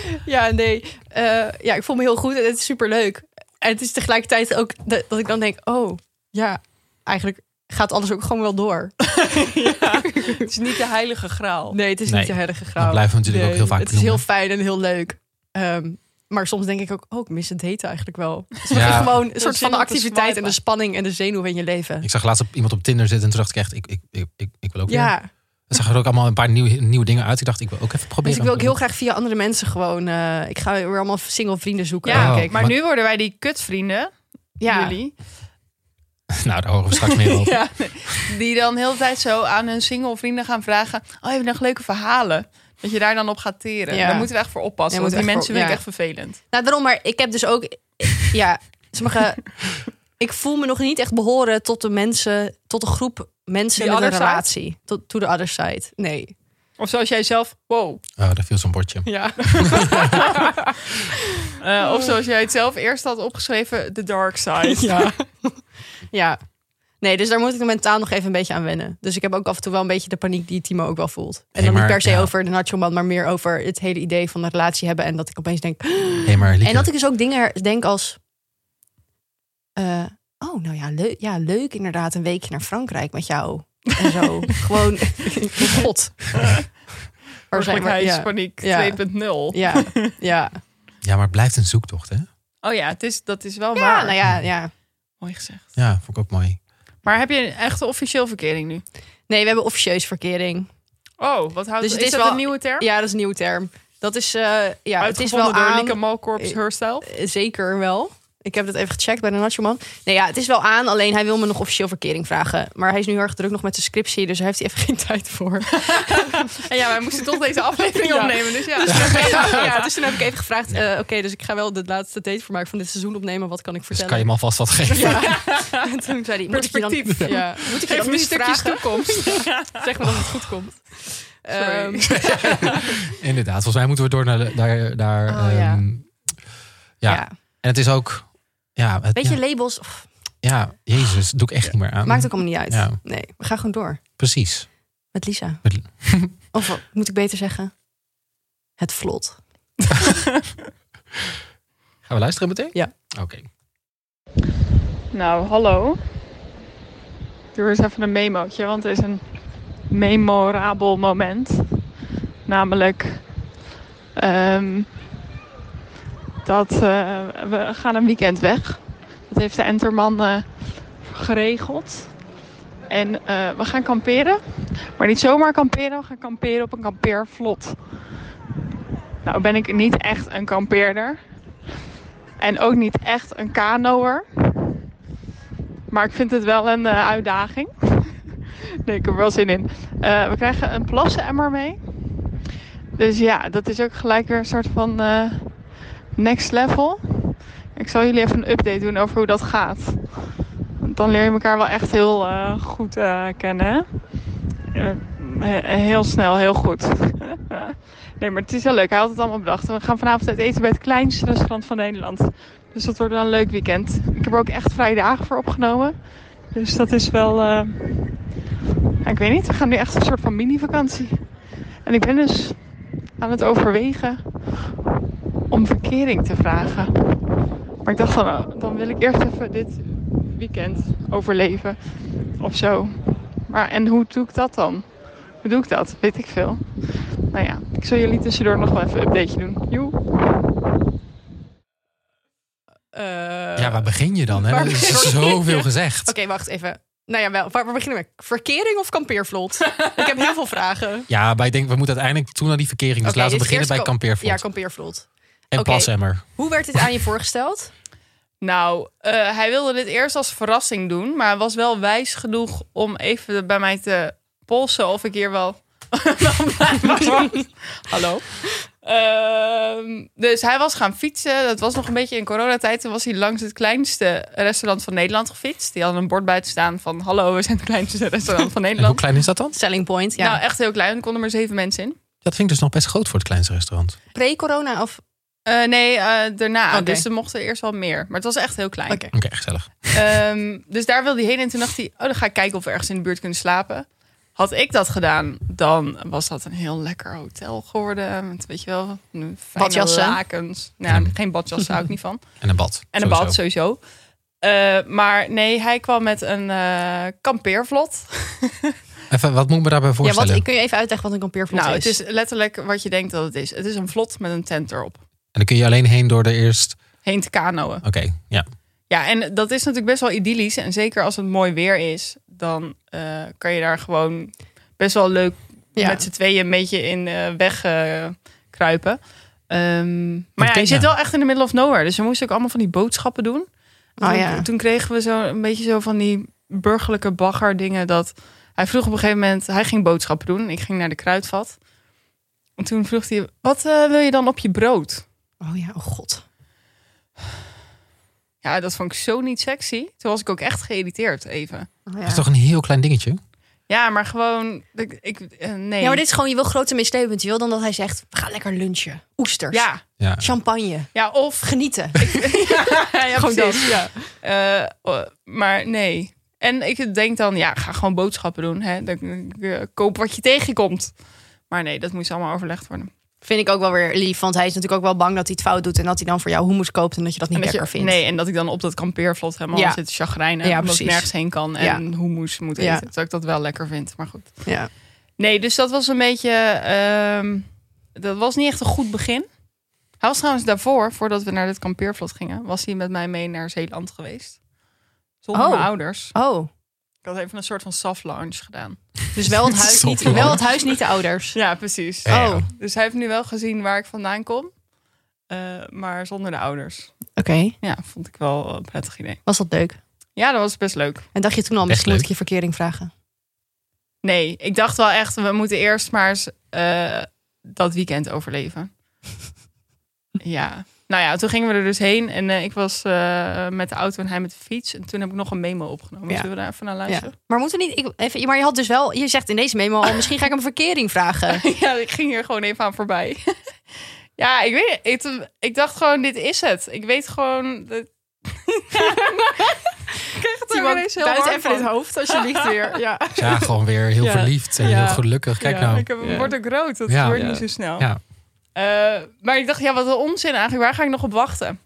S5: ja nee. Eh, ja, ik voel me heel goed en het is superleuk. En het is tegelijkertijd ook dat, dat ik dan denk... Oh, ja, eigenlijk gaat alles ook gewoon wel door.
S1: Het is niet de heilige graal.
S5: Nee, het is
S3: Nee,
S5: niet de heilige graal.
S3: Dat Nou, blijven we natuurlijk ook
S5: Nee,
S3: heel vaak
S5: Het is heel
S3: noemen.
S5: fijn en heel leuk. Ehm, maar soms denk ik ook, oh, ik mis het daten eigenlijk wel. Het is
S3: Ja.
S5: gewoon een
S1: zin
S5: soort van de
S1: om te
S5: activiteit en de
S1: swipen.
S5: spanning en de zenuw in je leven.
S3: Ik zag laatst op, iemand op Tinder zitten en toen dacht ik echt, ik, ik, ik, ik, ik wil ook weer.
S5: Ja,
S3: Het zag er ook allemaal een paar nieuwe, nieuwe dingen uit. Ik dacht, ik wil ook even proberen.
S5: dus ik wil ook heel graag via andere mensen gewoon... eh, ik ga weer allemaal single vrienden zoeken.
S1: Ja,
S3: Oh,
S5: kijk.
S1: maar
S3: maar-
S1: nu worden wij die kutvrienden,
S5: ja.
S1: jullie,
S3: Nou, daar horen we straks meer
S5: [laughs]
S3: over.
S1: ja, die dan heel de tijd zo aan hun single vrienden gaan vragen, oh, heb je nog leuke verhalen? Dat je daar dan op gaat teren.
S5: Ja.
S1: Daar moeten we echt voor oppassen,
S5: Ja,
S1: want die
S5: moeten we
S1: mensen vind
S5: echt
S1: ik echt
S5: voor-
S1: vervelend.
S5: Nou, daarom, maar ik heb dus ook...
S1: [laughs]
S5: Ja, sommige... ik voel me nog niet echt behoren tot de mensen... Tot de groep mensen
S1: The
S5: met een
S1: other side?
S5: relatie. Tot to the other side. Nee.
S1: Of zoals jij zelf, wow.
S3: Oh, daar viel zo'n bordje.
S1: Ja. [laughs] Eh, of zoals jij het zelf eerst had opgeschreven, the dark side.
S5: Ja. [laughs] ja. Nee, dus daar moet ik mentaal nog even een beetje aan wennen. Dus ik heb ook af en toe wel een beetje de paniek die Timo ook wel voelt. En
S3: Nee,
S5: dan
S3: maar-
S5: niet per se
S3: ja.
S5: over de nacho man, maar meer over het hele idee van een relatie hebben. En dat ik opeens denk.
S3: Hey, maar Lieke,
S5: En dat ik dus ook dingen denk als. eh, oh, nou ja, leuk, ja, leuk inderdaad. Een weekje naar Frankrijk met jou.
S1: [laughs]
S5: En zo. Gewoon. God. Waar zijn we? Ja.
S1: Paniek
S5: Ja.
S1: 2.0.
S5: Ja,
S1: [laughs]
S5: ja.
S3: Ja, maar het blijft een zoektocht, hè?
S1: Oh ja, het is, dat is wel
S5: ja,
S1: waar.
S5: nou ja, ja.
S1: Mooi gezegd.
S3: Ja, vond ik ook mooi. Dus
S1: Maar heb je een echte officieel verkering nu?
S5: Nee, we hebben officieus verkering.
S1: Oh, wat houdt
S5: Dus
S1: is,
S5: het is
S1: dat
S5: wel-
S1: een nieuwe term?
S5: Ja, dat is een nieuwe term. Dat is, eh, ja, het is
S1: Uitgevonden
S5: wel
S1: door
S5: aan.
S1: Lieke Malkorps Herstel.
S5: Eh, Zeker wel. Ik heb dat even gecheckt bij de Nacho Man. Nee, ja, het is wel aan. Alleen hij wil me nog officieel verkering vragen. Maar hij is nu heel erg druk nog met zijn scriptie. Dus hij heeft hier even [laughs] geen tijd voor.
S1: [laughs] En ja, wij moesten toch deze aflevering
S5: [laughs] Ja.
S1: opnemen. Dus ja.
S5: ja, dus toen heb ik even gevraagd. eh, Oké, dus ik ga wel de laatste date voor mij van dit seizoen opnemen. Wat kan
S3: Dus
S5: ik
S3: kan je
S5: vertellen?
S3: hem alvast wat geven.
S5: En toen zei hij, moet ik je dan,
S1: Perspectief.
S5: ja, moet ik je
S1: Geef
S5: dan
S1: me
S5: nu
S1: stukjes
S5: vragen?
S1: toekomst.
S5: [laughs] Zeg maar dat het goed komt.
S1: Sorry.
S5: Ehm,
S3: Inderdaad, volgens mij moeten we door naar de- daar. daar
S5: Oh, ja.
S3: ehm, ja.
S5: ja.
S3: En het is ook. Ja, het,
S5: Beetje
S3: ja,
S5: labels. pff,
S3: ja, Jezus, doe ik echt niet meer aan.
S5: maakt ook allemaal niet uit.
S3: Ja.
S5: Nee, we gaan gewoon door.
S3: Precies.
S5: Met Lisa.
S3: Met Li- [laughs]
S5: of wat moet ik beter zeggen? Het vlot.
S3: Gaan we luisteren meteen?
S5: Ja.
S3: Oké.
S4: Nou, hallo. Ik doe eens even een memootje, want het is een memorabel moment. Namelijk ehm, dat eh, we gaan een weekend weg. Dat heeft de Enterman eh, geregeld. En eh, we gaan kamperen. Maar niet zomaar kamperen, we gaan kamperen op een kampeervlot. Nou ben ik niet echt een kampeerder. En ook niet echt een kanoër. Maar ik vind het wel een eh, uitdaging. [laughs] nee, ik heb er wel zin in. Eh, we krijgen een plassenemmer mee. Dus ja, dat is ook gelijk weer een soort van eh, next level. Ik zal jullie even een update doen over hoe dat gaat. Want dan leer je elkaar wel echt heel eh, goed eh, kennen. hè? Eh, he- heel snel, heel goed. [laughs] nee, maar het is wel leuk. Hij had het allemaal bedacht. We gaan vanavond uit eten bij het kleinste restaurant van Nederland. Dus dat wordt wel een leuk weekend. Ik heb er ook echt vrije dagen voor opgenomen. Dus dat is wel. eh, ja, ik weet niet, we gaan nu echt een soort van mini-vakantie. En ik ben dus aan het overwegen om verkering te vragen. Maar ik dacht van, oh, dan wil ik eerst even dit weekend overleven of zo. Maar en hoe doe ik dat dan? Hoe doe ik dat? Weet ik veel. Nou ja, ik zal jullie tussendoor nog wel even een updateje doen. Joe.
S1: Eh,
S3: ja, waar begin je dan? Hè?
S1: waar
S3: Er
S1: begin je?
S3: is zoveel gezegd.
S5: Oké, wacht even. Nou ja, wel, waar, waar beginnen we? Verkering of kampeervlot? ik heb [laughs] heel veel vragen.
S3: Ja, maar ik denk, we moeten uiteindelijk toe naar die verkering. Dus
S5: Oké,
S3: laten we
S5: dus
S3: beginnen bij
S5: eerst kam-
S3: kampeervlot
S5: Ja, kampeervlot.
S3: en
S5: oké.
S3: plasemmer.
S5: Hoe werd dit aan je voorgesteld?
S1: Nou, eh, hij wilde dit eerst als verrassing doen, maar was wel wijs genoeg om even bij mij te polsen of ik hier wel. [laughs] Hallo. Ehm, dus hij was gaan fietsen. Dat was nog een beetje in coronatijd. Toen was hij langs het kleinste restaurant van Nederland gefietst. Die hadden een bord buiten staan van... Hallo, we zijn het kleinste restaurant [laughs]
S3: En
S1: van
S3: hoe
S1: Nederland.
S3: klein is dat dan?
S5: Selling point, ja.
S1: Nou, echt heel klein. Er konden maar zeven mensen in.
S3: Dat vind ik dus nog best groot voor het kleinste restaurant.
S5: Pre-corona of...
S1: Eh, nee, eh, daarna.
S5: Oké.
S1: Dus er mochten eerst wel meer. Maar het was echt heel klein.
S5: Oké.
S3: Oké, gezellig.
S1: Ehm, dus daar wilde hij heen. En toen dacht hij, oh, dan ga ik kijken of we ergens in de buurt kunnen slapen. Had ik dat gedaan, dan was dat een heel lekker hotel geworden. Met, weet je wel, fijne
S5: Badjassen.
S1: lakens. Nou,
S5: [laughs]
S1: geen badjas, daar hou ik niet van.
S3: En een bad.
S1: En
S3: sowieso.
S1: een bad, sowieso. Eh, maar nee, hij kwam met een eh, kampeervlot.
S3: Even, wat moet ik me daarbij
S5: Ja,
S3: voorstellen?
S5: wat, kun je even uitleggen wat een kampeervlot
S1: nou,
S5: is?
S1: het is letterlijk wat je denkt dat het is. Het is een vlot met een tent erop.
S3: En dan kun je alleen heen door de eerst...
S1: Heen te kanoën.
S3: Oké, ja.
S1: Ja, en dat is natuurlijk best wel idyllisch. En zeker als het mooi weer is, dan eh, kan je daar gewoon best wel leuk
S5: Ja.
S1: met z'n tweeën een beetje in eh, weg eh, kruipen. Ehm, maar ja,
S3: Kenia.
S1: je zit wel echt in de middle of nowhere. Dus we moesten ook allemaal van die boodschappen doen.
S5: Oh
S1: toen,
S5: ja.
S1: toen kregen we zo een beetje zo van die burgerlijke bagger dingen. Dat hij vroeg op een gegeven moment, hij ging boodschappen doen. Ik ging naar de kruidvat. En toen vroeg hij, wat eh, wil je dan op je brood?
S5: Oh ja, oh god.
S1: Ja, dat vond ik zo niet sexy. Toen was ik ook echt geïrriteerd even.
S5: Oh ja.
S3: Dat is toch een heel klein dingetje?
S1: Ja, maar gewoon. Ik, ik, eh, nee.
S5: ja, maar dit is gewoon, je wil grote mislevend. Je wil dan dat hij zegt, we gaan lekker lunchen. Oesters,
S1: ja,
S3: Ja.
S5: champagne,
S1: ja, of.
S5: genieten.
S1: [laughs] ja, ja,
S5: [laughs] Gewoon
S1: precies, ja. Eh, eh, maar nee. En ik denk dan, ja, ga gewoon boodschappen doen. Hè. Dan, eh, koop wat je tegenkomt. Maar nee, dat moest allemaal overlegd worden.
S5: Vind ik ook wel weer lief, want hij is natuurlijk ook wel bang dat hij het fout doet... en dat hij dan voor jou hummus koopt en dat je dat niet
S1: en dat
S5: lekker
S1: je,
S5: vindt.
S1: Nee, en dat ik dan op dat kampeervlot helemaal
S5: Ja.
S1: zit te chagrijnen.
S5: Ja,
S1: omdat ik
S5: precies.
S1: nergens heen kan en
S5: Ja.
S1: hummus moet eten.
S5: Ja.
S1: Terwijl ik dat wel lekker vind, maar goed.
S5: Ja.
S1: Nee, dus dat was een beetje. ehm, dat was niet echt een goed begin. Hij was trouwens daarvoor, voordat we naar dit kampeervlot gingen, was hij met mij mee naar Zeeland geweest. Zonder
S5: Oh.
S1: mijn ouders.
S5: Oh,
S1: Ik had even een soort van soft lounge gedaan.
S5: dus wel het huis, niet,
S3: Stoffel.
S5: wel het huis niet de ouders.
S1: Ja, precies.
S3: Ja, ja.
S5: Oh, oké.
S1: Dus hij heeft nu wel gezien waar ik vandaan kom. eh, maar zonder de ouders. Ja, vond ik wel een prettig idee.
S5: Was dat leuk?
S1: Ja, dat was best leuk.
S5: En dacht je toen al,
S3: Best
S5: misschien moet
S3: leuk.
S5: ik je verkering vragen?
S1: Nee, ik dacht wel echt, we moeten eerst maar eens eh, dat weekend
S5: [laughs]
S1: overleven. ja. Nou ja, toen gingen we er dus heen en eh, ik was eh, met de auto en hij met de fiets. En toen heb ik nog een memo opgenomen.
S5: Ja.
S1: Zullen we daar even naar
S5: Ja.
S1: luisteren? [laughs]
S5: Maar moeten we niet, ik, even, maar je had dus wel, je zegt in deze memo al, misschien ga ik hem verkering vragen.
S1: Ja, ik ging hier gewoon even aan voorbij. [laughs] ja, ik weet het. Ik, ik dacht gewoon, dit is het. Ik weet gewoon... Dat... ik kreeg het er
S5: Timon,
S1: ineens heel
S5: buit
S1: warm
S5: even
S1: van.
S5: dit hoofd alsjeblieft weer.
S1: Ja,
S3: ja, gewoon weer heel
S1: Ja.
S3: verliefd en
S1: Ja.
S3: heel gelukkig. Kijk
S1: ja,
S3: nou.
S1: Ik heb,
S4: Ja.
S1: word ook rood. Dat
S3: Ja.
S1: gebeurt
S4: Ja.
S1: niet zo snel.
S3: Ja.
S1: Eh, maar ik dacht, ja, wat een onzin eigenlijk. Waar ga ik nog op wachten?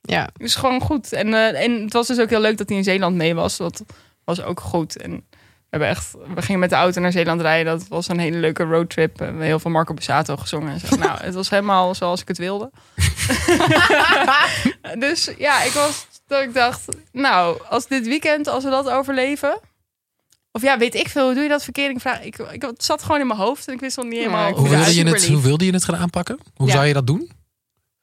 S5: Ja.
S1: Dus gewoon goed. En, eh, en het was dus ook heel leuk dat hij in Zeeland mee was. Dat was ook goed. En we, hebben echt, we gingen met de auto naar Zeeland rijden. Dat was een hele leuke roadtrip. Eh, We hebben heel veel Marco Bussato gezongen. En zo. nou, het was helemaal zoals ik het wilde. dus ja, ik was dat ik dacht, nou, als dit weekend, als we dat overleven. Of ja, weet ik veel, hoe doe je dat verkering vraag? Ik, ik, het zat gewoon in mijn hoofd en ik wist nog niet helemaal.
S5: Ja,
S3: Hoe,
S1: het
S3: wilde je het,
S1: uitziet.
S3: hoe wilde je het gaan aanpakken? Hoe
S1: Ja.
S3: zou je dat doen?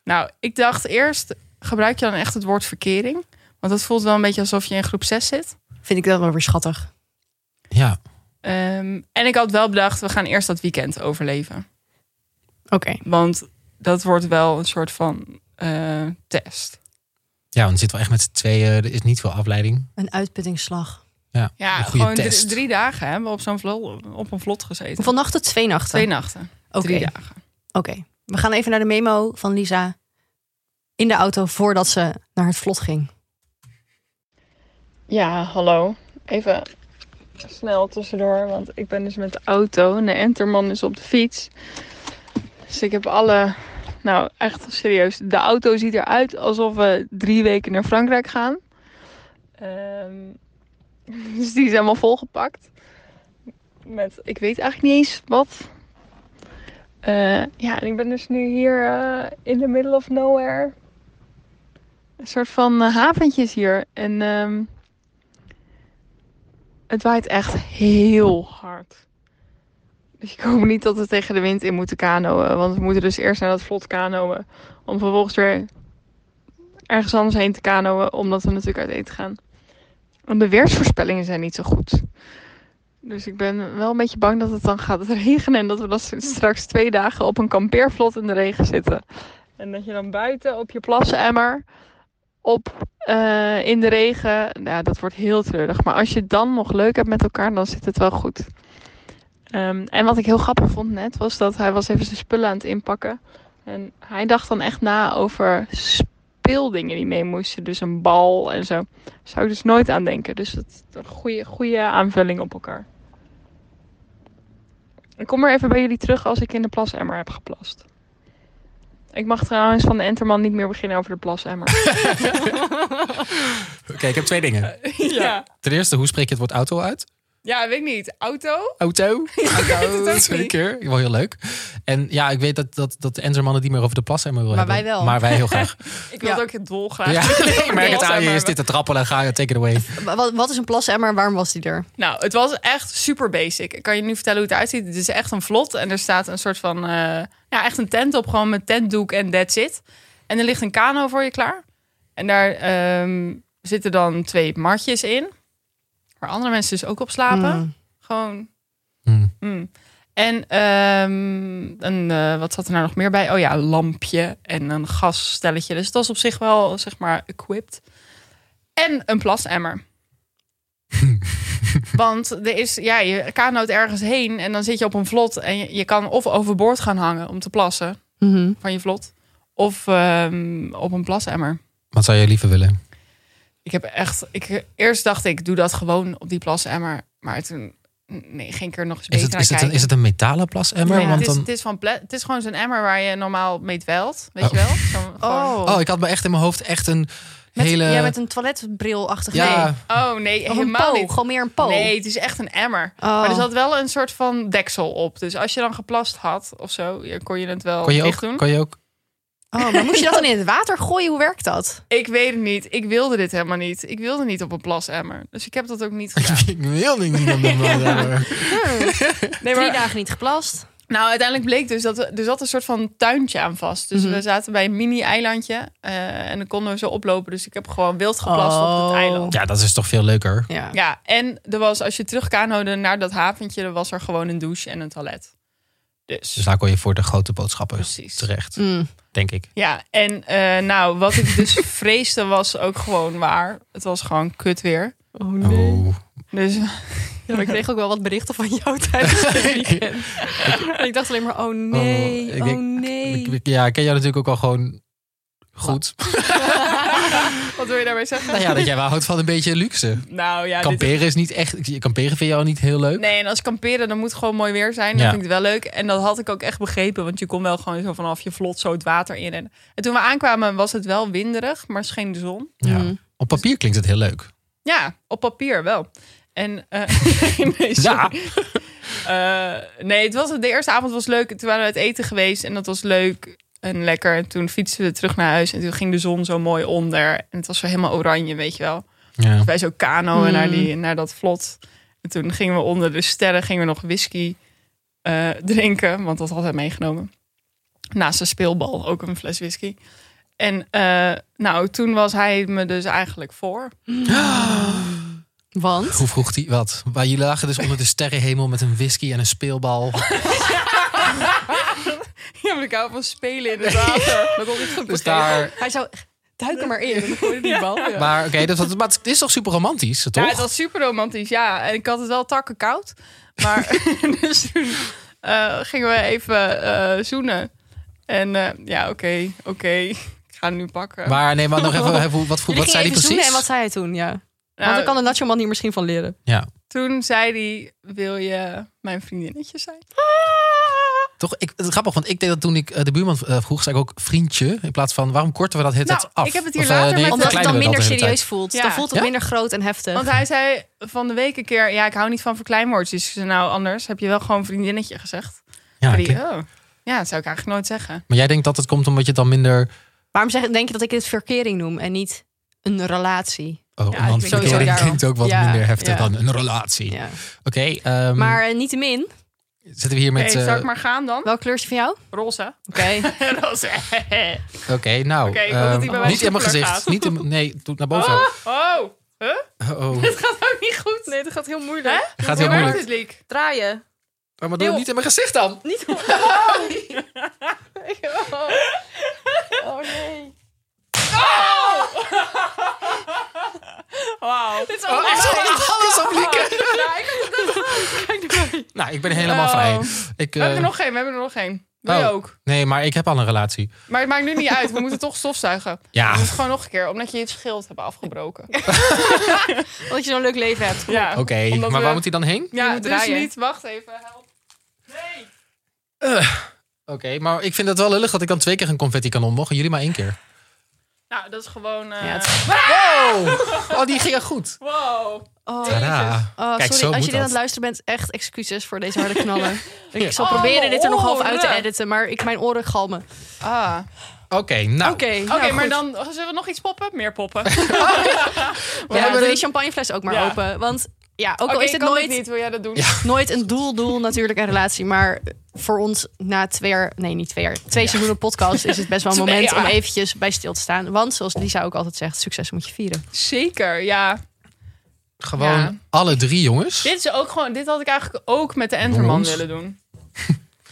S1: Nou, ik dacht eerst, gebruik je dan echt het woord verkering? Want dat voelt wel een beetje alsof je in groep 6 zit.
S5: Vind ik dat wel weer schattig.
S3: Ja,
S1: Ehm, en ik had wel bedacht, we gaan eerst dat weekend overleven.
S5: Oké.
S1: Want dat wordt wel een soort van eh, test.
S3: ja want je zit wel echt met z'n tweeën. Er is niet veel afleiding.
S5: Een uitputtingsslag.
S3: Ja,
S1: Ja,
S3: een goede
S1: gewoon drie-
S3: test.
S1: Drie, dagen hebben we op zo'n vlot, op een vlot gezeten.
S5: Hoeveel nachten? Twee nachten.
S1: Twee nachten,
S5: Oké.
S1: drie dagen.
S5: Oké. We gaan even naar de memo van Lisa in de auto voordat ze naar het vlot ging.
S4: Ja, hallo. Even snel tussendoor, want ik ben dus met de auto en de enterman is op de fiets. Dus ik heb alle, nou echt serieus, de auto ziet eruit alsof we drie weken naar Frankrijk gaan. Ehm, [laughs] dus die is helemaal volgepakt. Met, ik weet eigenlijk niet eens wat. Eh, ja, en ik ben dus nu hier eh, in the middle of nowhere. Een soort van eh, haventjes hier. En ehm, het waait echt heel hard. Dus ik hoop niet dat we tegen de wind in moeten kanoën. Want we moeten dus eerst naar dat vlot kanoën. Om vervolgens weer ergens anders heen te kanoën. Omdat we natuurlijk uit eten gaan. Want de weersvoorspellingen zijn niet zo goed. Dus ik ben wel een beetje bang dat het dan gaat regenen. En dat we dan straks twee dagen op een kampeervlot in de regen zitten. En dat je dan buiten op je plassenemmer op eh, in de regen. Nou, dat wordt heel treurig. Maar als je het dan nog leuk hebt met elkaar, dan zit het wel goed. Ehm, en wat ik heel grappig vond net, was dat hij was even zijn spullen aan het inpakken. En hij dacht dan echt na over speeldingen die mee moesten. Dus een bal en zo. Zou ik dus nooit aan denken. Dus dat is een goede, goede aanvulling op elkaar. Ik kom maar even bij jullie terug als ik in de plasemmer heb geplast. Ik mag trouwens van de Enterman niet meer beginnen over de plasemmer.
S3: Oké, ik heb twee dingen.
S1: [laughs] Ja.
S3: Ten eerste, hoe spreek je het woord auto uit?
S1: ja, weet ik niet. Auto?
S3: Auto.
S1: het ook
S3: Twee
S1: niet.
S3: keer. Wel heel leuk. En ja, ik weet dat, dat, dat de Enzermannen die meer over de plas hebben willen
S5: Maar
S3: hebben.
S5: wij wel.
S3: Maar wij heel
S1: [laughs]
S3: graag.
S1: Ik wil
S5: Ja.
S1: ook het dolgraag.
S3: ja, [laughs] ik merk het aan je.
S1: Maar-
S3: Is dit te trappelen? Ga je, take it away.
S5: Wa- Wat, wat is een plasemmer en waarom was die er?
S1: Nou, het was echt super basic. Ik kan je nu vertellen hoe het eruit ziet. Het is echt een vlot en er staat een soort van... eh, ja, echt een tent op, gewoon met tentdoek en that's it. En er ligt een kano voor je klaar. En daar ehm, zitten dan twee matjes in. Waar andere mensen dus ook op slapen.
S5: Mm.
S1: Gewoon...
S3: Hmm.
S1: mm. En, ehm, een, eh, wat zat er nou nog meer bij? Oh ja, een lampje en een gasstelletje. Dus dat was op zich wel, zeg maar, equipped. En een plasemmer.
S3: [laughs]
S1: Want er is, ja, je kanoot ergens heen en dan zit je op een vlot. En je, je kan of overboord gaan hangen om te plassen
S5: Mhm.
S1: van je vlot. Of ehm, op een plasemmer.
S3: Wat zou je liever willen?
S1: Ik heb echt, ik, eerst dacht ik, doe dat gewoon op die plasemmer. Maar toen, nee, geen keer nog eens
S3: Is
S1: beter
S3: het,
S1: naar
S3: is, het een,
S1: kijken.
S3: is het een metalen plasemmer? Want
S1: Nee, Nou het, is,
S3: dan...
S1: het, is van pla- het is gewoon zo'n emmer waar je normaal mee dwelt. Weet
S3: Oh.
S1: je wel?
S3: [laughs]
S1: Zo'n- gewoon-
S5: Oh,
S3: Oh, ik had me echt in mijn hoofd echt een
S5: met,
S3: hele...
S5: ja, met een toiletbrilachtig
S3: Ja,
S5: nee.
S1: oh nee,
S5: Of een
S1: helemaal
S5: po,
S1: niet.
S5: gewoon meer een po.
S1: Nee, het is echt een emmer.
S5: Oh.
S1: Maar er zat wel een soort van deksel op. Dus als je dan geplast had of zo, ja, kon je het wel
S3: kon, je ook,
S1: dicht doen.
S3: kon je ook...
S5: Oh, maar moest je dat dan in het water gooien? Hoe werkt [laughs] dat?
S1: Ik weet het niet. Ik wilde dit helemaal niet. Ik wilde niet op een plasemmer. Dus ik heb dat ook niet gedaan.
S3: [laughs] Ik wil niet meer met mijn
S1: [laughs]
S3: emmer.
S5: Hmm.
S1: Nee,
S5: Drie
S1: maar,
S5: dagen niet geplast.
S1: nou, uiteindelijk bleek dus dat we- er zat een soort van tuintje aan vast. Dus
S5: Mhm.
S1: we zaten bij een mini-eilandje. eh, en dan konden we zo oplopen. Dus ik heb gewoon wild geplast op het
S5: Oh.
S1: eiland.
S3: Ja, dat is toch veel leuker.
S5: Ja.
S1: Ja, en er was, als je terug kanode naar dat haventje, dan was er gewoon een douche en een toilet. Dus,
S3: Dus daar kon je voor de grote boodschappen
S1: Precies.
S3: terecht,
S5: Mm.
S3: denk ik.
S1: ja, en eh, nou, wat
S3: [laughs]
S1: ik dus vreesde was ook gewoon waar. Het was gewoon kut weer.
S3: Oh.
S1: Dus [laughs]
S5: Ja, maar ik kreeg ook wel wat berichten van jou tijdens het [laughs] weekend. en ik dacht alleen maar, oh nee,
S3: Oh,
S5: oh,
S3: ik denk-
S5: nee.
S3: Ik- ik- Ja, ik ken jou natuurlijk ook al gewoon goed.
S1: wat wil je daarmee zeggen?
S3: Nou ja, dat jij wel houdt van een beetje luxe.
S1: Nou ja, dit-
S3: Kamperen is niet echt... Kamperen vind je al niet heel leuk.
S1: Nee, en als kamperen, dan moet het gewoon mooi weer zijn. Dat
S3: Ja.
S1: vind ik wel leuk. En dat had ik ook echt begrepen. Want je kon wel gewoon zo vanaf je vlot zo het water in. En, en toen we aankwamen was het wel winderig, maar scheen de zon.
S3: Ja.
S5: Mm.
S3: Op papier klinkt het heel leuk.
S1: Ja, op papier wel. En eh, [laughs] nee, sorry. Eh, nee, het was, de eerste avond was leuk. Toen waren we uit eten geweest en dat was leuk en lekker. En toen fietsten we terug naar huis en toen ging de zon zo mooi onder. En het was zo helemaal oranje, weet je wel.
S3: Ja.
S1: Bij zo'n kano en naar,
S5: Mm.
S1: die, naar dat vlot. En toen gingen we onder de sterren, gingen we nog whisky eh, drinken. Want dat had hij meegenomen. Naast de speelbal ook een fles whisky. En eh, nou, toen was hij me dus eigenlijk voor. [laughs]
S5: Want?
S3: Hoe vroeg die wat? Waar jullie lagen dus onder de sterrenhemel met een whisky en een
S5: [laughs]
S3: speelbal.
S1: Ja, maar ik hou van spelen in het water. Dat had ik goed
S3: Dus
S1: begrepen.
S3: daar...
S5: Hij zou, duik er maar
S3: [laughs]
S5: in. die bal.
S3: Maar oké, dat was- maar het is toch super romantisch, toch?
S1: Ja, het was super romantisch, ja. En ik had het wel takken koud.
S3: [laughs]
S1: Maar [laughs] dus toen eh, gingen we even eh, zoenen. En eh, ja, oké, oké. Ik ga hem nu pakken.
S3: Maar nee, maar nog even, even wat, wat,
S5: Jullie
S3: zei
S5: gingen
S3: hij
S5: even zoenen
S3: precies?
S5: en wat zei hij toen? Ja. Want
S1: Nou,
S5: dan kan de Nacho Man hier misschien van leren.
S1: Toen zei hij, wil je mijn vriendinnetje zijn?
S3: Toch, ik, het is grappig, want ik deed dat toen ik eh, de buurman eh, vroeg, zei ik ook vriendje. In plaats van, waarom korten we dat het
S1: Nou,
S3: dat af?
S1: ik heb het hier
S3: eh,
S1: later met-
S5: Omdat het
S3: verkleinen
S5: dan
S3: we dat
S5: minder
S3: de hele tijd?
S5: serieus voelt.
S1: Ja.
S5: Dan voelt het
S3: Ja?
S5: minder groot en heftig.
S1: Want hij zei van de week een keer, ja, ik hou niet van verkleinwoordjes. Ik zei, nou, anders heb je wel gewoon vriendinnetje gezegd.
S3: Ja,
S1: Zei hij,
S3: Ah, oké.
S1: oh. ja, dat zou ik eigenlijk nooit zeggen.
S3: Maar jij denkt dat het komt omdat je het dan minder... oh,
S5: Waarom zeg, denk je dat ik dit verkering noem en niet een relatie?
S3: Oh,
S1: Ja,
S3: een
S1: ik denk
S3: handverkering
S5: sowieso daar
S3: klinkt ook wat
S5: Ja,
S3: minder heftig
S1: ja.
S3: dan een relatie.
S5: Ja.
S3: Oké, ehm,
S5: Maar eh, niettemin,
S3: zitten we hier
S1: Oké,
S3: met... eh,
S1: zou ik maar gaan dan?
S5: welk kleurtje van jou?
S1: Roze. [laughs]
S5: Oké.
S1: Roze.
S3: Oké, nou.
S1: Oké, ik hoop dat
S3: ehm,
S1: die bij mij
S3: niet in mijn
S1: soepeler
S3: gezicht.
S1: gaat.
S3: Niet in, mijn- nee, doe het naar boven.
S1: oh, [laughs] oh,
S3: Oh,
S1: [laughs]
S3: oh.
S1: dit gaat ook niet goed.
S6: Nee, dat gaat heel moeilijk.
S3: Het gaat
S1: Hoe
S3: heel
S1: werkt
S3: moeilijk.
S1: dit leak?
S6: Draaien.
S3: Oh, maar doe het niet in mijn gezicht dan.
S6: Niet op. Oh. oh nee.
S1: Wauw.
S6: Dit is
S3: Oh, ik zal
S1: [laughs]
S3: alles op Lieke.
S6: Ja, ik had het
S3: [laughs] Nou, ik ben helemaal
S1: Oh.
S3: vrij. Ik,
S1: We hebben
S3: eh,
S1: er nog geen, we hebben er nog geen. Wil je
S3: Oh.
S1: ook?
S3: Nee, maar ik heb al een relatie.
S1: Maar het maakt nu niet uit, we moeten toch stofzuigen.
S3: Ja,
S1: We moeten gewoon nog een keer, omdat je het schild hebt afgebroken.
S5: [laughs] Omdat je zo'n leuk leven hebt.
S1: Ja,
S3: oké.
S1: Omdat
S3: Maar
S1: we-
S3: waar moet hij dan heen?
S1: ja
S6: moet
S1: dus
S6: draaien.
S1: niet, wacht even, help. Nee.
S3: Oké, maar ik vind het wel lullig dat ik dan twee keer een confetti kanon mocht en jullie maar één keer.
S1: Nou, dat is gewoon... eh,
S5: Ja, het-
S3: Wow! Oh, die ging goed.
S1: Wow.
S5: Oh,
S3: Tada.
S5: Oh,
S3: Kijk, zo
S5: sorry, als
S3: moet
S5: je dit aan het
S3: dat.
S5: luisteren bent, echt excuses voor deze harde knallen.
S3: Ja.
S5: Ik zal
S1: Oh,
S5: proberen dit er nog half uit te
S1: oren.
S5: editen, maar ik, mijn oren galmen.
S1: Ah.
S3: Oké, nou.
S5: Oké,
S1: Oké, maar dan zullen we nog iets poppen? Meer poppen.
S5: Ja,
S3: hebben
S5: doe
S3: het-
S5: die champagnefles ook maar
S1: Ja.
S5: open. Want ja, ook
S1: Oké,
S5: al is
S1: ik
S5: dit
S1: kan
S5: nooit,
S1: dit niet. Wil jij dat doen?
S3: Ja.
S5: nooit een doel-doel natuurlijk een relatie, maar voor ons na twee jaar, nee niet twee jaar, twee seizoenen podcast is het best wel een
S1: Twee
S5: moment om
S1: jaar.
S5: eventjes bij stil te staan. Want zoals Lisa ook altijd zegt, succes moet je vieren.
S1: Zeker, ja.
S3: Gewoon
S1: Ja.
S3: alle drie, jongens.
S1: Dit, is ook gewoon, dit had ik eigenlijk ook met de Enterman
S3: Rond.
S1: willen doen.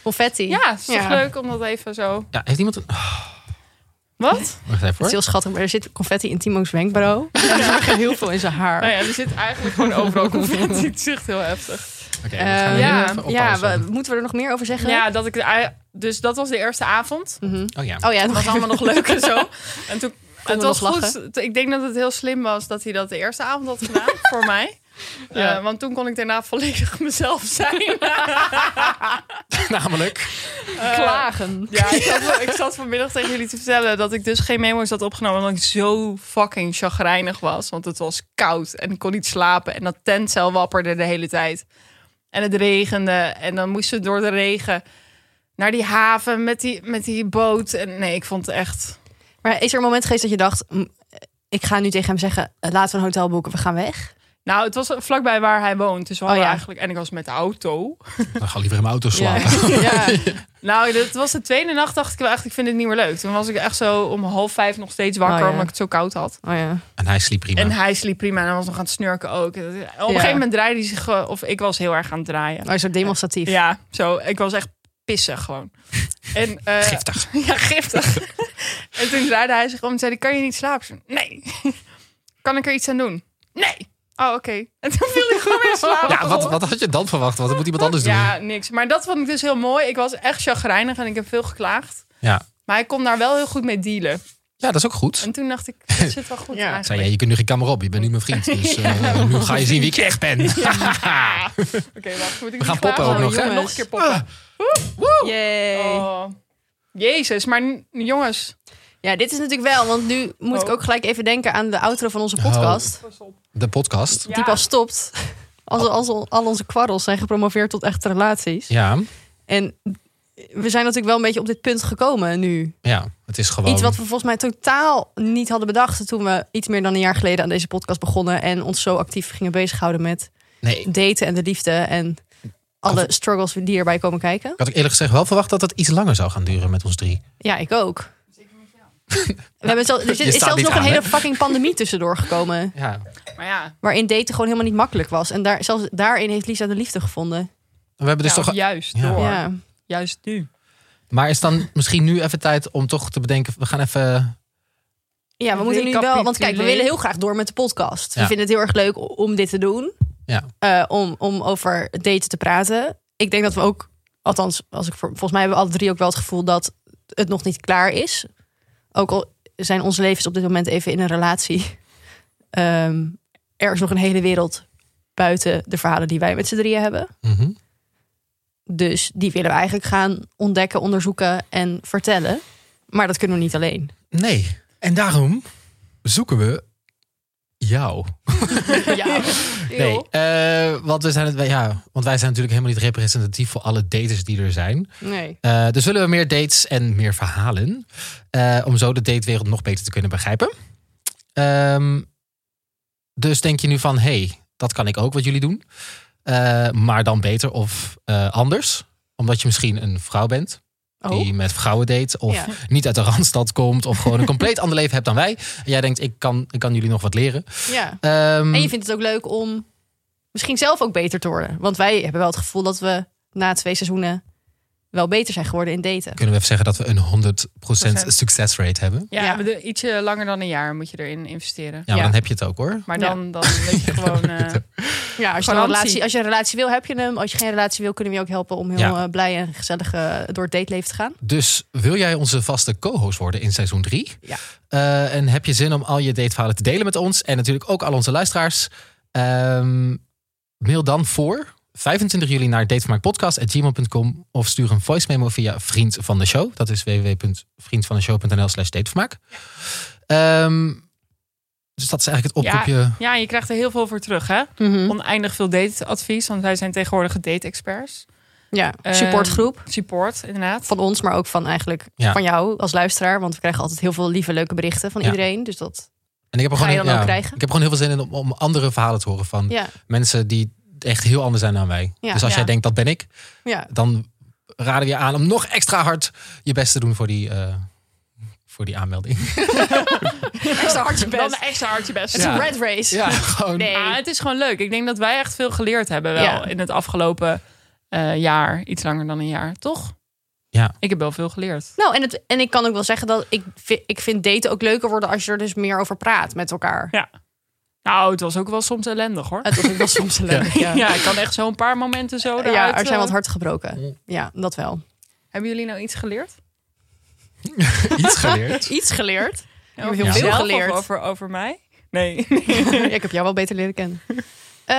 S5: Confetti.
S1: Ja, is toch
S5: Ja.
S1: leuk om dat even zo...
S3: Ja, Nou, heeft iemand een... Oh,
S1: Wat?
S3: Wacht even
S5: Het is
S3: hoor.
S5: heel schattig, maar er zit confetti in Timo's wenkbrauw. En er zit heel veel in zijn haar.
S1: Nou ja, er zit eigenlijk gewoon
S3: [laughs]
S1: overal confetti. Het is echt heel heftig.
S3: Oké, dat gaan we
S1: Eh, ja.
S3: nu even
S5: Ja,
S3: oppassen.
S5: we- moeten we er nog meer over zeggen?
S1: Ja, dat ik... de- Dus dat was de eerste avond.
S5: Mhm.
S3: Oh ja.
S5: Oh ja,
S1: Dat was allemaal nog leuk en
S5: [laughs]
S1: zo. En toen... Het
S5: we
S1: was
S5: nog
S1: goed. Ik denk dat het heel slim was dat hij dat de eerste avond had
S5: [laughs]
S1: gedaan voor mij.
S5: Ja.
S1: Eh, want toen kon ik daarna volledig [laughs] mezelf zijn.
S3: [laughs] Namelijk.
S1: Eh,
S5: klagen.
S1: Ja, ik zat, ik zat vanmiddag tegen jullie te vertellen dat ik dus geen memo's had opgenomen. Omdat ik zo fucking chagrijnig was. Want het was koud en ik kon niet slapen. En dat tentcel wapperde de hele tijd. En het regende. En dan moesten we door de regen naar die haven met die, met die boot. En nee, ik vond het echt...
S5: Maar is er een moment geweest dat je dacht, "Mm, ik ga nu tegen hem zeggen, eh, laten we een hotel boeken, we gaan weg?
S1: Nou, het was vlakbij waar hij woont. Dus we hadden
S5: Oh ja.
S1: eigenlijk... En ik was met de auto.
S3: Dan ga ik liever in mijn auto slapen.
S5: [laughs] ja.
S1: [laughs] Nou, dat was de tweede nacht dacht ik wel echt, ik vind het niet meer leuk. Toen was ik echt zo om half vijf nog steeds wakker,
S5: Oh ja.
S1: omdat ik het zo koud had.
S5: Oh ja.
S3: En hij sliep prima.
S1: En hij sliep prima en hij was nog aan het snurken ook. En Op een gegeven moment draaide hij zich, eh, of ik was heel erg aan het draaien.
S5: Oh, zo demonstratief.
S1: Ja, zo. Ik was echt pissig
S3: [laughs]
S1: gewoon. En, eh,
S3: Giftig.
S1: [laughs] Ja,
S3: [laughs]
S1: giftig. en toen draaide hij zich om en zei, hij, kan je niet slapen? Ik zei, Nee. [laughs] kan ik er iets aan doen? Nee. Oh, oké. En toen viel hij gewoon
S3: [laughs]
S1: weer slapen.
S3: Ja, wat, wat had je dan verwacht? Wat moet iemand anders doen?
S1: Ja, niks. Maar dat vond ik dus heel mooi. Ik was echt chagrijnig en ik heb veel geklaagd.
S3: Ja.
S1: Maar hij kon daar wel heel goed mee dealen.
S3: Ja, dat is ook goed.
S1: En toen dacht ik, dat zit wel
S3: [laughs]
S1: goed
S5: Ja.
S1: eigenlijk.
S3: Zei jij, je kunt nu geen kamer op. Je bent nu mijn vriend. Dus eh, nu ga je zien wie ik echt ben. [laughs]
S1: Ja. Oké, wacht. Moet ik
S3: We gaan
S1: die vraag
S3: poppen ook
S1: zo-
S3: nog, hè? Ah.
S1: Ja, nog een keer poppen.
S5: Yay.
S1: Oh. Jezus, maar n- jongens.
S5: Ja, dit is natuurlijk wel, want nu moet ik
S1: Oh.
S5: ook gelijk even denken aan de outro van
S3: Oh.
S5: onze podcast.
S3: De podcast.
S5: Die pas stopt als, als al- al onze kwarrels zijn gepromoveerd tot echte relaties.
S3: Oh. Ja,
S5: En we zijn natuurlijk wel een beetje op dit punt gekomen nu.
S3: ja. Het is gewoon...
S5: Iets wat we volgens mij totaal niet hadden bedacht toen we iets meer dan een jaar geleden aan deze podcast begonnen. En ons zo actief gingen bezighouden met
S3: Nee,
S5: daten en de liefde en alle struggles die erbij komen kijken.
S3: ik had ik eerlijk gezegd wel verwacht dat het iets langer zou gaan duren met ons drie.
S5: Ja, ik ook.
S3: [laughs]
S5: We hebben zelf, er zit-
S3: Je
S5: is
S3: staat
S5: zelfs
S3: niet
S5: nog een
S3: aan,
S5: hele
S3: hè?
S5: fucking pandemie tussendoor gekomen.
S3: Ja.
S1: Maar ja,
S5: Waarin daten gewoon helemaal niet makkelijk was. En daar, zelfs daarin heeft Lisa de liefde gevonden.
S3: We hebben dus
S1: ja,
S3: toch...
S1: nou, juist
S3: Ja.
S1: door.
S5: Ja.
S1: Juist nu.
S3: Maar is dan misschien nu even tijd om toch te bedenken... We gaan even...
S5: ja, we moeten nu wel. Want kijk, we willen heel graag door met de podcast. We
S3: Ja.
S5: vinden het heel erg leuk o- om dit te doen.
S3: Ja.
S5: Eh, om, om over daten te praten. Ik denk dat we ook, althans, als ik, voor- volgens mij hebben we alle drie ook wel het gevoel dat het nog niet klaar is. Ook al zijn onze levens op dit moment even in een relatie. [laughs] Ehm, er is nog een hele wereld buiten de verhalen die wij met z'n drieën hebben.
S3: Mhm.
S5: Dus die willen we eigenlijk gaan ontdekken, onderzoeken en vertellen. Maar dat kunnen we niet alleen.
S3: Nee. En daarom zoeken we jou.
S5: [laughs] Ja.
S3: Nee, eh, want, we zijn het, ja, want wij zijn natuurlijk helemaal niet representatief voor alle daters die er zijn.
S5: Nee.
S3: Eh, dus willen we meer dates en meer verhalen. eh, om zo de datewereld nog beter te kunnen begrijpen. Ehm, dus denk je nu van, hey, dat kan ik ook wat jullie doen. Eh, maar dan beter of eh, anders. Omdat je misschien een vrouw bent.
S5: Oh.
S3: Die met vrouwen date. Of
S5: Ja.
S3: niet uit de Randstad komt. Of
S5: [laughs]
S3: gewoon een compleet ander leven hebt dan wij. En jij denkt, ik kan, ik kan jullie nog wat leren.
S5: ja.
S3: Ehm,
S5: En je vindt het ook leuk om misschien zelf ook beter te worden. Want wij hebben wel het gevoel dat we na twee seizoenen wel beter zijn geworden in daten.
S3: Kunnen we even zeggen dat we een 100%
S1: Procent.
S3: success rate hebben?
S1: Ja,
S5: Ja.
S1: we doen ietsje langer dan een jaar moet je erin investeren.
S3: Ja, maar
S5: Ja.
S3: dan heb je het ook hoor.
S1: Maar
S5: Ja.
S1: dan, dan [laughs] weet je gewoon... eh,
S5: Ja, als
S1: Garantie.
S5: je, een relatie, als je een relatie wil, heb je hem. Als je geen relatie wil, kunnen we je ook helpen om heel
S3: Ja.
S5: eh, blij en gezellig eh, door het dateleven te gaan.
S3: Dus wil jij onze vaste co-host worden in seizoen 3?
S5: Ja.
S3: Eh, en heb je zin om al je dateverhalen te delen met ons? En natuurlijk ook al onze luisteraars. Ehm, mail dan voor 25 juli naar datevermaakpodcast.gmail.com of stuur een voice memo via Vriend van de Show. Dat is www.vriendvandeshow.nl slash datevermaak. Ehm, dus dat is eigenlijk het oproepje.
S1: ja, je krijgt er heel veel voor terug, hè?
S3: Mhm.
S5: Hm?
S1: Oneindig veel dateadvies, want wij zijn tegenwoordig date-experts.
S5: Ja,
S3: Eh,
S1: Ehm,
S5: supportgroep.
S1: Support, inderdaad.
S5: van ons, maar ook van eigenlijk
S3: Ja.
S5: van jou als luisteraar. Want we krijgen altijd heel veel lieve, leuke berichten van
S3: Ja.
S5: iedereen. Dus dat,
S3: En ik heb, er
S5: Ga je
S3: gewoon,
S5: dan ook
S3: ja, ik
S5: krijgen?
S3: heb er gewoon heel veel zin in om, om andere verhalen te horen van
S5: ja,
S3: mensen die echt heel anders zijn dan wij.
S5: Ja.
S3: dus als
S1: Ja.
S3: jij denkt dat ben ik,
S5: ja.
S3: dan raden we je aan om nog extra hard je best te doen voor die, eh, voor die
S5: [laughs]
S3: aanmelding.
S5: Extra hard je
S1: Dan
S5: best.
S1: een extra hard je best.
S5: Het is
S3: Ja.
S5: een red race.
S3: Ja, [laughs] gewoon.
S5: Nee.
S1: Ah, het is gewoon leuk. Ik denk dat wij echt veel geleerd hebben wel
S5: Ja.
S1: in het afgelopen eh, jaar. Iets langer dan een jaar, toch?
S3: Ja.
S1: Ik heb wel veel geleerd.
S5: Nou, en, het, en ik kan ook wel zeggen dat ik, vi- ik vind daten ook leuker worden als je er dus meer over praat met elkaar.
S1: Ja. Nou, het was ook wel soms ellendig, hoor.
S5: Het was ook wel soms leuk.
S1: Ja,
S5: Ja. Ja.
S1: ik kan echt zo'n paar momenten zo eruit.
S5: er zijn
S1: eh,
S5: wat harten gebroken. Ja, dat wel.
S1: Hebben jullie nou iets geleerd?
S3: Iets geleerd.
S5: Iets geleerd.
S1: Ja,
S5: heel
S1: over
S5: veel
S1: jezelf
S5: geleerd.
S1: Of over, over mij? [laughs] Nee.
S5: Ja, [laughs] ik heb jou wel beter leren kennen.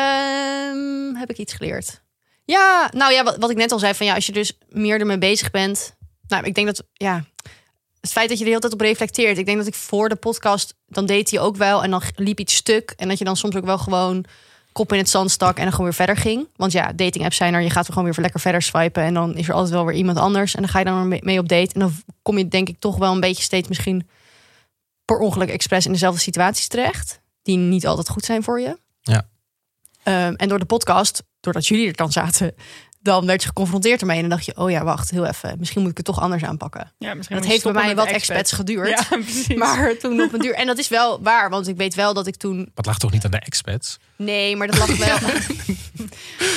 S5: Ehm, heb ik iets geleerd? Ja, nou ja, wat, wat ik net al zei, van ja, als je dus meer ermee bezig bent. Nou, ik denk dat, ja, het feit dat je de hele tijd op reflecteert. Ik denk dat ik voor de podcast, dan deed hij ook wel en dan liep iets stuk. En dat je dan soms ook wel gewoon kop in het zand stak en dan gewoon weer verder ging. Want ja, dating apps zijn er, je gaat er gewoon weer lekker verder swipen. En dan is er altijd wel weer iemand anders. En dan ga je dan weer mee- mee op date. En dan kom je denk ik toch wel een beetje steeds misschien per ongeluk expres in dezelfde situaties terecht die niet altijd goed zijn voor je.
S3: Ja.
S5: Ehm, en door de podcast, doordat jullie er dan zaten, dan werd je geconfronteerd ermee. En dan dacht je, oh ja, wacht, heel even. Misschien moet ik het toch anders aanpakken.
S1: Ja, misschien moet je
S5: En dat heeft bij
S1: stoppen
S5: mij
S1: met
S5: wat expats geduurd.
S1: Ja, [laughs] precies.
S5: [laughs] Maar toen op een duur. En dat is wel waar, want ik weet wel dat ik toen.
S3: Wat lag toch niet aan de expats?
S5: Nee, maar dat lag
S1: [laughs]
S5: wel. [laughs]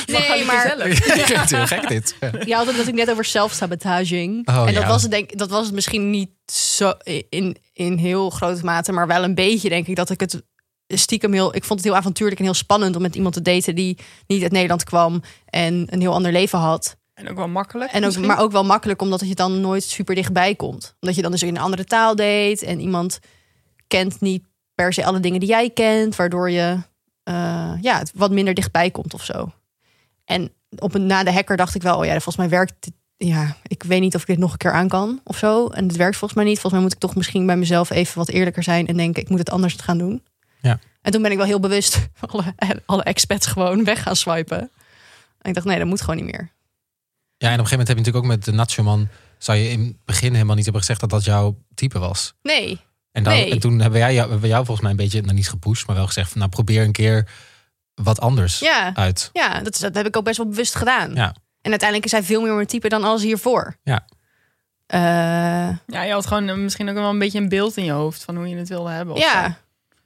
S5: Nee, maar
S3: [laughs] Ik vind het heel gek dit. Ja.
S5: je had het natuurlijk net over zelfsabotaging.
S3: Oh,
S5: en dat,
S3: ja.
S5: was het denk, dat was het misschien niet zo in, in heel grote mate, maar wel een beetje denk ik dat ik het stiekem heel... Ik vond het heel avontuurlijk en heel spannend om met iemand te daten die niet uit Nederland kwam en een heel ander leven had.
S1: En ook wel makkelijk.
S5: En ook,
S1: misschien.
S5: maar ook wel makkelijk omdat je dan nooit super dichtbij komt. Omdat je dan dus in een andere taal deed en iemand kent niet per se alle dingen die jij kent, waardoor je eh, ja, het wat minder dichtbij komt of zo. En op een, na de hacker dacht ik wel, oh ja, volgens mij werkt dit. Ja, ik weet niet of ik dit nog een keer aan kan of zo. En het werkt volgens mij niet. Volgens mij moet ik toch misschien bij mezelf even wat eerlijker zijn en denken, ik moet het anders gaan doen.
S3: Ja.
S5: En toen ben ik wel heel bewust [laughs] alle, alle expats gewoon weg gaan swipen. En ik dacht, nee, dat moet gewoon niet meer.
S3: en op een gegeven moment heb je natuurlijk ook met de Nachoman. zou je in het begin helemaal niet hebben gezegd dat dat jouw type was.
S5: Nee,
S3: En, dan,
S5: Nee.
S3: en toen hebben wij jou, hebben we jou volgens mij een beetje, nou niet gepusht, maar wel gezegd van nou probeer een keer wat anders
S5: ja.
S3: uit.
S5: Ja, dat, is- dat heb ik ook best wel bewust gedaan.
S3: Ja.
S5: En uiteindelijk is hij veel meer mijn type dan alles hiervoor.
S3: Ja.
S5: Eh,
S1: Ja, je had gewoon eh, misschien ook wel een beetje een beeld in je hoofd van hoe je het wilde hebben. of zo.
S5: ja.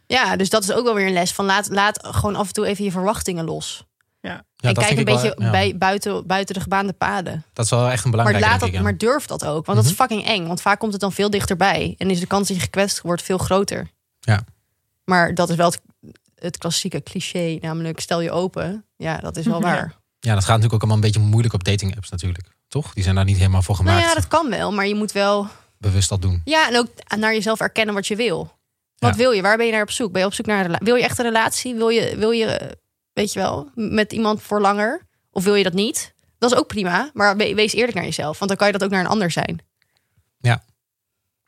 S5: ja, dus dat is ook wel weer een les van laat, laat gewoon af en toe even je verwachtingen los.
S3: Ja,
S5: en
S3: dat
S5: kijk
S3: vind
S5: een
S3: ik wel-
S5: beetje
S3: ja,
S5: bij, buiten, buiten de gebaande paden.
S3: Dat is wel echt een
S5: Maar,
S3: belangrijke denk
S5: laat dat,
S3: ik, ja. Mhm.
S5: maar durf dat ook, want dat is fucking eng. Want vaak komt het dan veel dichterbij en is de kans dat je gekwetst wordt veel groter.
S3: Ja.
S5: Maar dat is wel het, het klassieke cliché, namelijk stel je open. Ja, dat is wel
S1: Ja.
S3: [laughs]
S5: waar.
S3: Ja, dat gaat natuurlijk ook allemaal een beetje moeilijk op dating apps natuurlijk. Toch? Die zijn daar niet helemaal voor gemaakt.
S5: Nou ja, dat kan wel, maar je moet wel
S3: Bewust dat doen.
S5: Ja, en ook naar jezelf erkennen wat je wil. Wat
S3: Ja.
S5: wil je? Waar ben je naar op zoek? Ben je op zoek naar een rela- Wil je echt een relatie? Wil je, wil je, eh, weet je wel, met iemand voor langer? Of wil je dat niet? Dat is ook prima, maar we- wees eerlijk naar jezelf. Want dan kan je dat ook naar een ander zijn.
S3: Ja.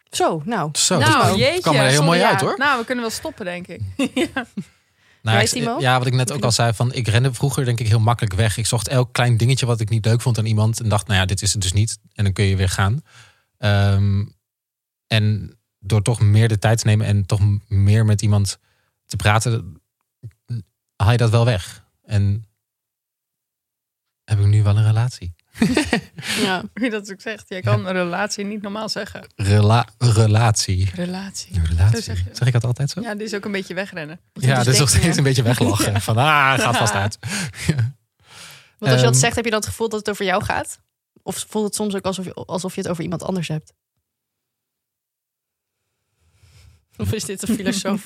S5: Zo, nou.
S3: Zo, dat
S1: nou, jeetje.
S3: kwam er heel
S1: sorry,
S3: mooi
S1: ja.
S3: uit hoor.
S1: Nou, we kunnen wel stoppen, denk [laughs] ik.
S3: Nou,
S5: Jij,
S3: ik-
S5: Timo?
S3: ja, wat ik net ook al zei, van ik rende vroeger denk ik heel makkelijk weg. Ik zocht elk klein dingetje wat ik niet leuk vond aan iemand en dacht, nou ja, dit is het dus niet. En dan kun je weer gaan. Ehm, en door toch meer de tijd te nemen en toch m- meer met iemand te praten, haal je dat wel weg. En heb ik nu wel een relatie.
S5: Ja.
S1: Hoe je dat ook zegt. Jij kan een relatie niet normaal zeggen.
S3: Rela relatie.
S1: Relatie.
S3: Relatie.
S1: Zo zeg je dat.
S3: Zeg ik dat altijd zo?
S1: Ja, dit is ook een beetje wegrennen.
S3: Ja,
S5: dus
S3: dus nog
S5: denk je-
S3: steeds een beetje weglachen.
S1: [laughs]
S3: Van, ah, gaat vast uit.
S5: Want als je dat
S3: Ehm.
S5: zegt, heb je dan het gevoel dat het over jou gaat? Of voelt het soms ook alsof je, alsof je het over iemand anders hebt? Of is dit
S1: [laughs]
S5: een filosoof?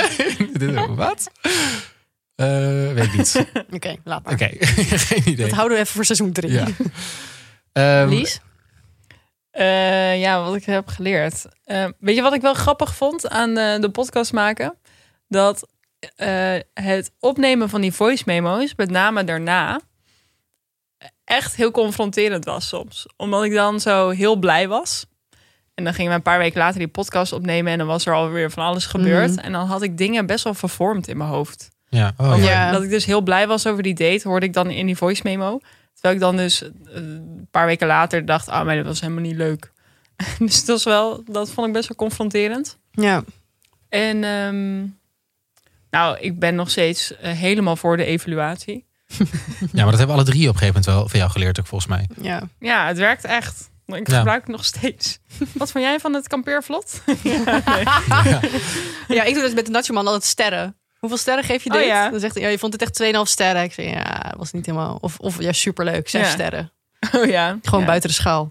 S3: [laughs] Dit- Wat? Eh, weet ik
S1: [laughs]
S3: niet.
S5: [laughs] Oké, laat maar.
S3: Oké, [laughs] geen idee.
S5: Dat houden we even voor seizoen drie.
S3: Ja. Ehm,
S5: Lies?
S1: Eh, ja, wat ik heb geleerd. Eh, weet je wat ik wel grappig vond aan eh, de podcast maken? Dat eh, het opnemen van die voice memo's, met name daarna, echt heel confronterend was soms. Omdat ik dan zo heel blij was. En dan gingen we een paar weken later die podcast opnemen en dan was er alweer van alles gebeurd.
S5: Mhm.
S1: En dan had ik dingen best wel vervormd in mijn hoofd.
S3: ja. Oh,
S1: Over
S3: ja.
S5: Ja.
S1: Dat ik dus heel blij was over die date, hoorde ik dan in die voice memo. Terwijl ik dan dus eh, een paar weken later dacht, ah, maar dat was helemaal niet leuk. [laughs] dus dat, is wel, dat vond ik best wel confronterend.
S5: Ja.
S1: En ehm, nou, ik ben nog steeds eh, helemaal voor de evaluatie.
S3: ja, maar dat hebben alle drie op een gegeven moment wel van jou geleerd ook volgens mij.
S5: ja.
S1: Ja, het werkt echt. Ik
S3: Ja.
S1: gebruik het nog steeds. [laughs] Wat vond jij van het kampeervlot? [laughs]
S5: Ja, ik doe dus met de Nacho Man altijd sterren. Hoeveel sterren geef je dit?
S1: Oh, ja.
S5: Dan zegt hij, ja, je vond het echt 2,5 sterren. Ik zeg, ja, dat was niet helemaal... Of, of ja, superleuk, zes
S1: Ja.
S5: sterren.
S1: Oh ja.
S5: Gewoon
S1: Ja,
S5: buiten de schaal.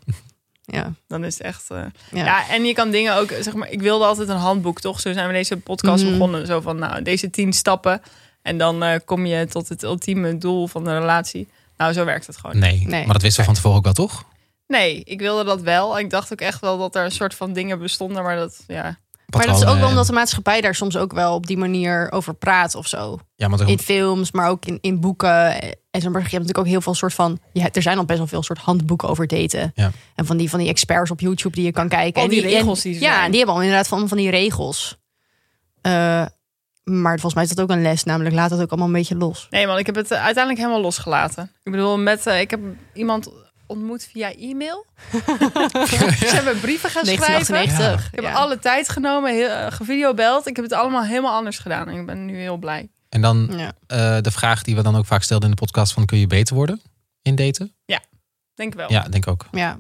S5: Ja.
S1: Dan is het echt... eh,
S5: Ja.
S1: Ja, en je kan dingen ook, zeg maar, ik wilde altijd een handboek, toch? Zo zijn we deze podcast
S5: Mhm.
S1: begonnen. Zo van, nou, deze tien stappen. En dan eh, kom je tot het ultieme doel van de relatie. Nou, zo werkt het gewoon. niet.
S3: Nee,
S5: Nee.
S3: maar dat wisten we van tevoren ook wel, toch?
S1: Nee, ik wilde dat wel. En ik dacht ook echt wel dat er een soort van dingen bestonden. Maar dat, ja.
S5: Maar dat is
S3: Patronen
S5: ook wel
S3: en-
S5: omdat de maatschappij daar soms ook wel op die manier over praat of zo.
S3: Ja, maar
S5: in
S3: dat...
S5: films, maar ook in, in boeken. En zo, maar je hebt natuurlijk ook heel veel soort van. Ja, er zijn al best wel veel soort handboeken over daten.
S3: Ja.
S5: En van die, van die experts op YouTube die je kan kijken.
S1: Al
S5: En
S1: die
S5: en-
S1: regels die ze
S5: Ja,
S1: zijn.
S5: en die hebben al inderdaad van, van die regels. Eh, maar volgens mij is dat ook een les. Namelijk, laat dat ook allemaal een beetje los.
S1: Nee, man, ik heb het eh, uiteindelijk helemaal losgelaten. Ik bedoel, met, eh, ik heb iemand ontmoet via
S5: [laughs]
S1: e-mail. Ze hebben brieven gaan schrijven.
S5: 1998.
S1: Ik heb
S5: ja.
S1: alle tijd genomen, heel, eh, gevideobeld. Ik heb het allemaal helemaal anders gedaan. En ik ben nu heel blij.
S3: En dan
S5: Ja.
S3: eh, de vraag die we dan ook vaak stelden in de podcast van kun je beter worden in daten?
S1: Denk wel.
S3: Ja, denk ik ook.
S5: Ja.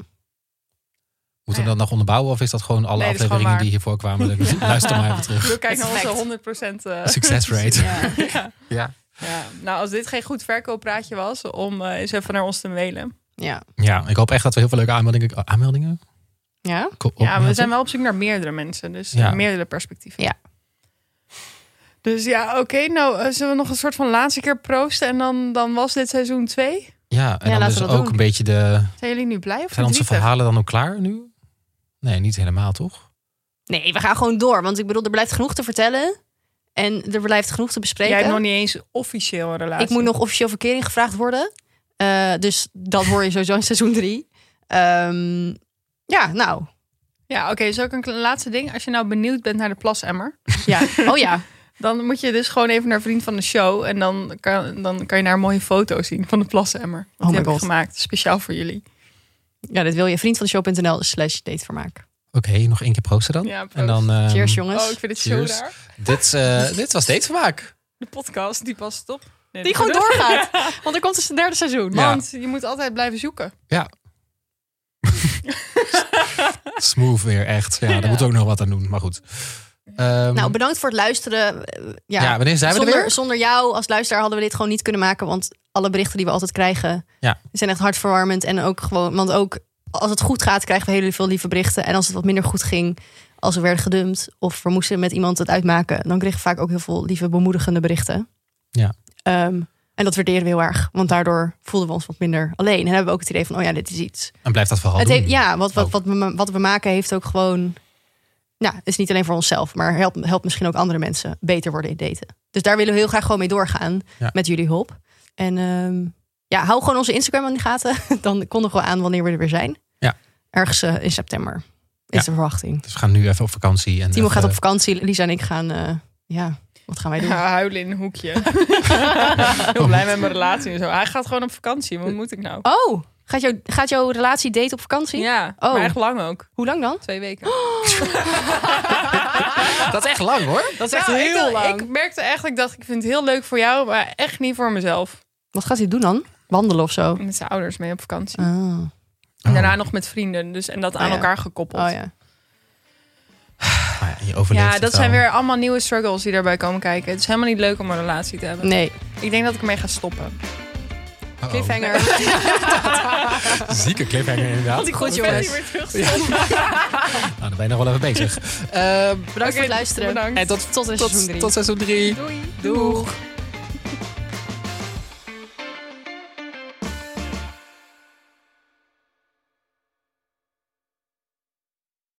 S3: Moeten we dat nog onderbouwen of is dat gewoon alle
S1: Nee, dat is gewoon
S3: afleveringen
S1: waar.
S3: die hiervoor kwamen? Luister maar even terug.
S1: [laughs] Wil kijken
S5: Perfect.
S1: naar onze 100%. eh,
S3: Success rate.
S5: Ja.
S1: ja.
S3: Ja.
S1: Ja. Nou, als dit geen goed verkooppraatje was, om eh, eens even naar ons te mailen.
S5: Ja.
S3: Ja, ik hoop echt dat we heel veel leuke aanmeldingen... Aanmeldingen?
S5: Ja.
S3: Ko-
S1: Ja, we
S3: opmerkingen?
S1: zijn wel op zoek naar meerdere mensen, dus
S3: Ja.
S1: meerdere perspectieven.
S5: Ja.
S1: Dus ja, oké. nou, eh, zullen we nog een soort van laatste keer proosten en dan, dan was dit seizoen 2.
S3: Ja, en
S5: Ja, laten we
S3: dan dus
S5: dat
S3: ook
S5: doen.
S3: een beetje de...
S1: Zijn jullie nu blij of
S3: Zijn onze
S1: verdrietig?
S3: verhalen dan ook klaar nu? Nee, niet helemaal, toch?
S5: Nee, we gaan gewoon door. Want ik bedoel, er blijft genoeg te vertellen. En er blijft genoeg te bespreken.
S1: Jij hebt nog niet eens officieel een relatie.
S5: Ik moet nog officieel verkering gevraagd worden. Eh, dus dat hoor je sowieso in seizoen drie. Ehm, ja, nou.
S1: Ja, oké. is ook een kle- laatste ding. Als je nou benieuwd bent naar de plasemmer, [laughs]
S5: Ja. Oh ja.
S1: Dan moet je dus gewoon even naar vriend van de show. En dan kan, dan kan je daar een mooie foto zien van de plassemmer.
S5: Oh
S1: Die
S5: my
S1: heb ik
S5: God.
S1: gemaakt, speciaal voor jullie.
S5: Ja, dit wil je. Vriend van de show.nl slash datevermaak.
S3: Oké, nog één keer proosten dan.
S1: Ja, proost.
S3: en dan, ehm,
S5: Cheers jongens.
S1: Oh, ik vind het
S3: cheers.
S1: zo raar.
S3: Dit, eh, dit was datevermaak.
S1: De podcast, die past het op. Nee,
S5: Die
S1: dat
S5: gewoon
S1: doe ik. [laughs]
S5: doorgaat. Want er komt dus een derde seizoen.
S3: Ja.
S1: Want je moet altijd blijven zoeken.
S3: Smooth weer, echt. Ja, daar moeten we ook nog wat aan doen, maar goed. Ehm,
S5: Nou, bedankt voor het luisteren. Eh, Ja.
S3: ja. wanneer zijn we er
S5: zonder,
S3: weer?
S5: zonder jou als luisteraar hadden we dit gewoon niet kunnen maken. Want alle berichten die we altijd krijgen
S3: Ja.
S5: zijn echt hartverwarmend. En ook gewoon, want ook als het goed gaat, krijgen we heel veel lieve berichten. En als het wat minder goed ging, als we werden gedumpt of we moesten met iemand het uitmaken, dan kregen we vaak ook heel veel lieve, bemoedigende berichten.
S3: Ja.
S5: Ehm, en dat waarderen we heel erg, want daardoor voelden we ons wat minder alleen. En hebben we ook het idee van, oh ja, dit is iets.
S3: En blijf dat verhaal
S5: Het
S3: doen.
S5: heeft, ja, wat, wat,
S3: Oh.
S5: wat, we, ma- wat we maken heeft ook gewoon Nou, het is niet alleen voor onszelf, maar helpt helpt misschien ook andere mensen beter worden in daten. Dus daar willen we heel graag gewoon mee doorgaan
S3: Ja.
S5: met jullie hulp. En ehm, ja, hou gewoon onze Instagram in de gaten. [laughs] Dan kondigen we aan wanneer we er weer zijn.
S3: Ja.
S5: Ergens eh, in september is
S3: Ja. eh,
S5: de verwachting.
S3: Dus we gaan nu even op vakantie. En
S5: Timo
S3: even-
S5: gaat op vakantie, Lisa en ik gaan, eh, ja, wat gaan wij doen?
S1: Ja, huilen in een [laughs] hoekje. Heel blij met mijn relatie en zo. Hij gaat gewoon op vakantie. Wat moet ik nou?
S5: Oh, gaat, jou, gaat jouw relatie date op vakantie?
S1: Ja,
S5: Oh.
S1: maar echt lang ook.
S5: Hoe lang dan?
S1: Twee weken.
S3: Ah, Dat is echt lang hoor.
S1: Dat
S5: is echt heel
S1: nou, ik, dacht-
S5: lang.
S1: Ik merkte echt, ik dacht, ik vind het heel leuk voor jou, maar echt niet voor mezelf.
S5: Wat gaat hij doen dan? Wandelen of zo?
S1: Met zijn ouders mee op vakantie.
S5: Oh,
S1: En daarna nog met vrienden. Dus, en dat
S5: Oh,
S1: aan
S5: ja.
S1: elkaar gekoppeld.
S5: oh ja.
S3: Maar Ah, ja, je overleeft
S1: Ja,
S3: het
S1: dat
S3: wel.
S1: zijn weer allemaal nieuwe struggles die daarbij komen kijken. Het is helemaal niet leuk om een relatie te hebben.
S5: Nee.
S1: Ik denk dat ik ermee ga stoppen.
S5: [laughs]
S3: Oh, oh.
S1: [laughs]
S5: Cliffhanger.
S3: Zieke cliffhanger inderdaad.
S5: Goed,
S1: Goed,
S5: jongens.
S1: jongens. Weer terug.
S3: Nou,
S1: [laughs]
S3: dan ben je nog wel even bezig. Eh,
S5: Bedankt voor het luisteren.
S1: Bedankt.
S3: en tot,
S5: Tot in seizoen drie.
S3: tot seizoen 3.
S1: Doei.
S5: Doeg.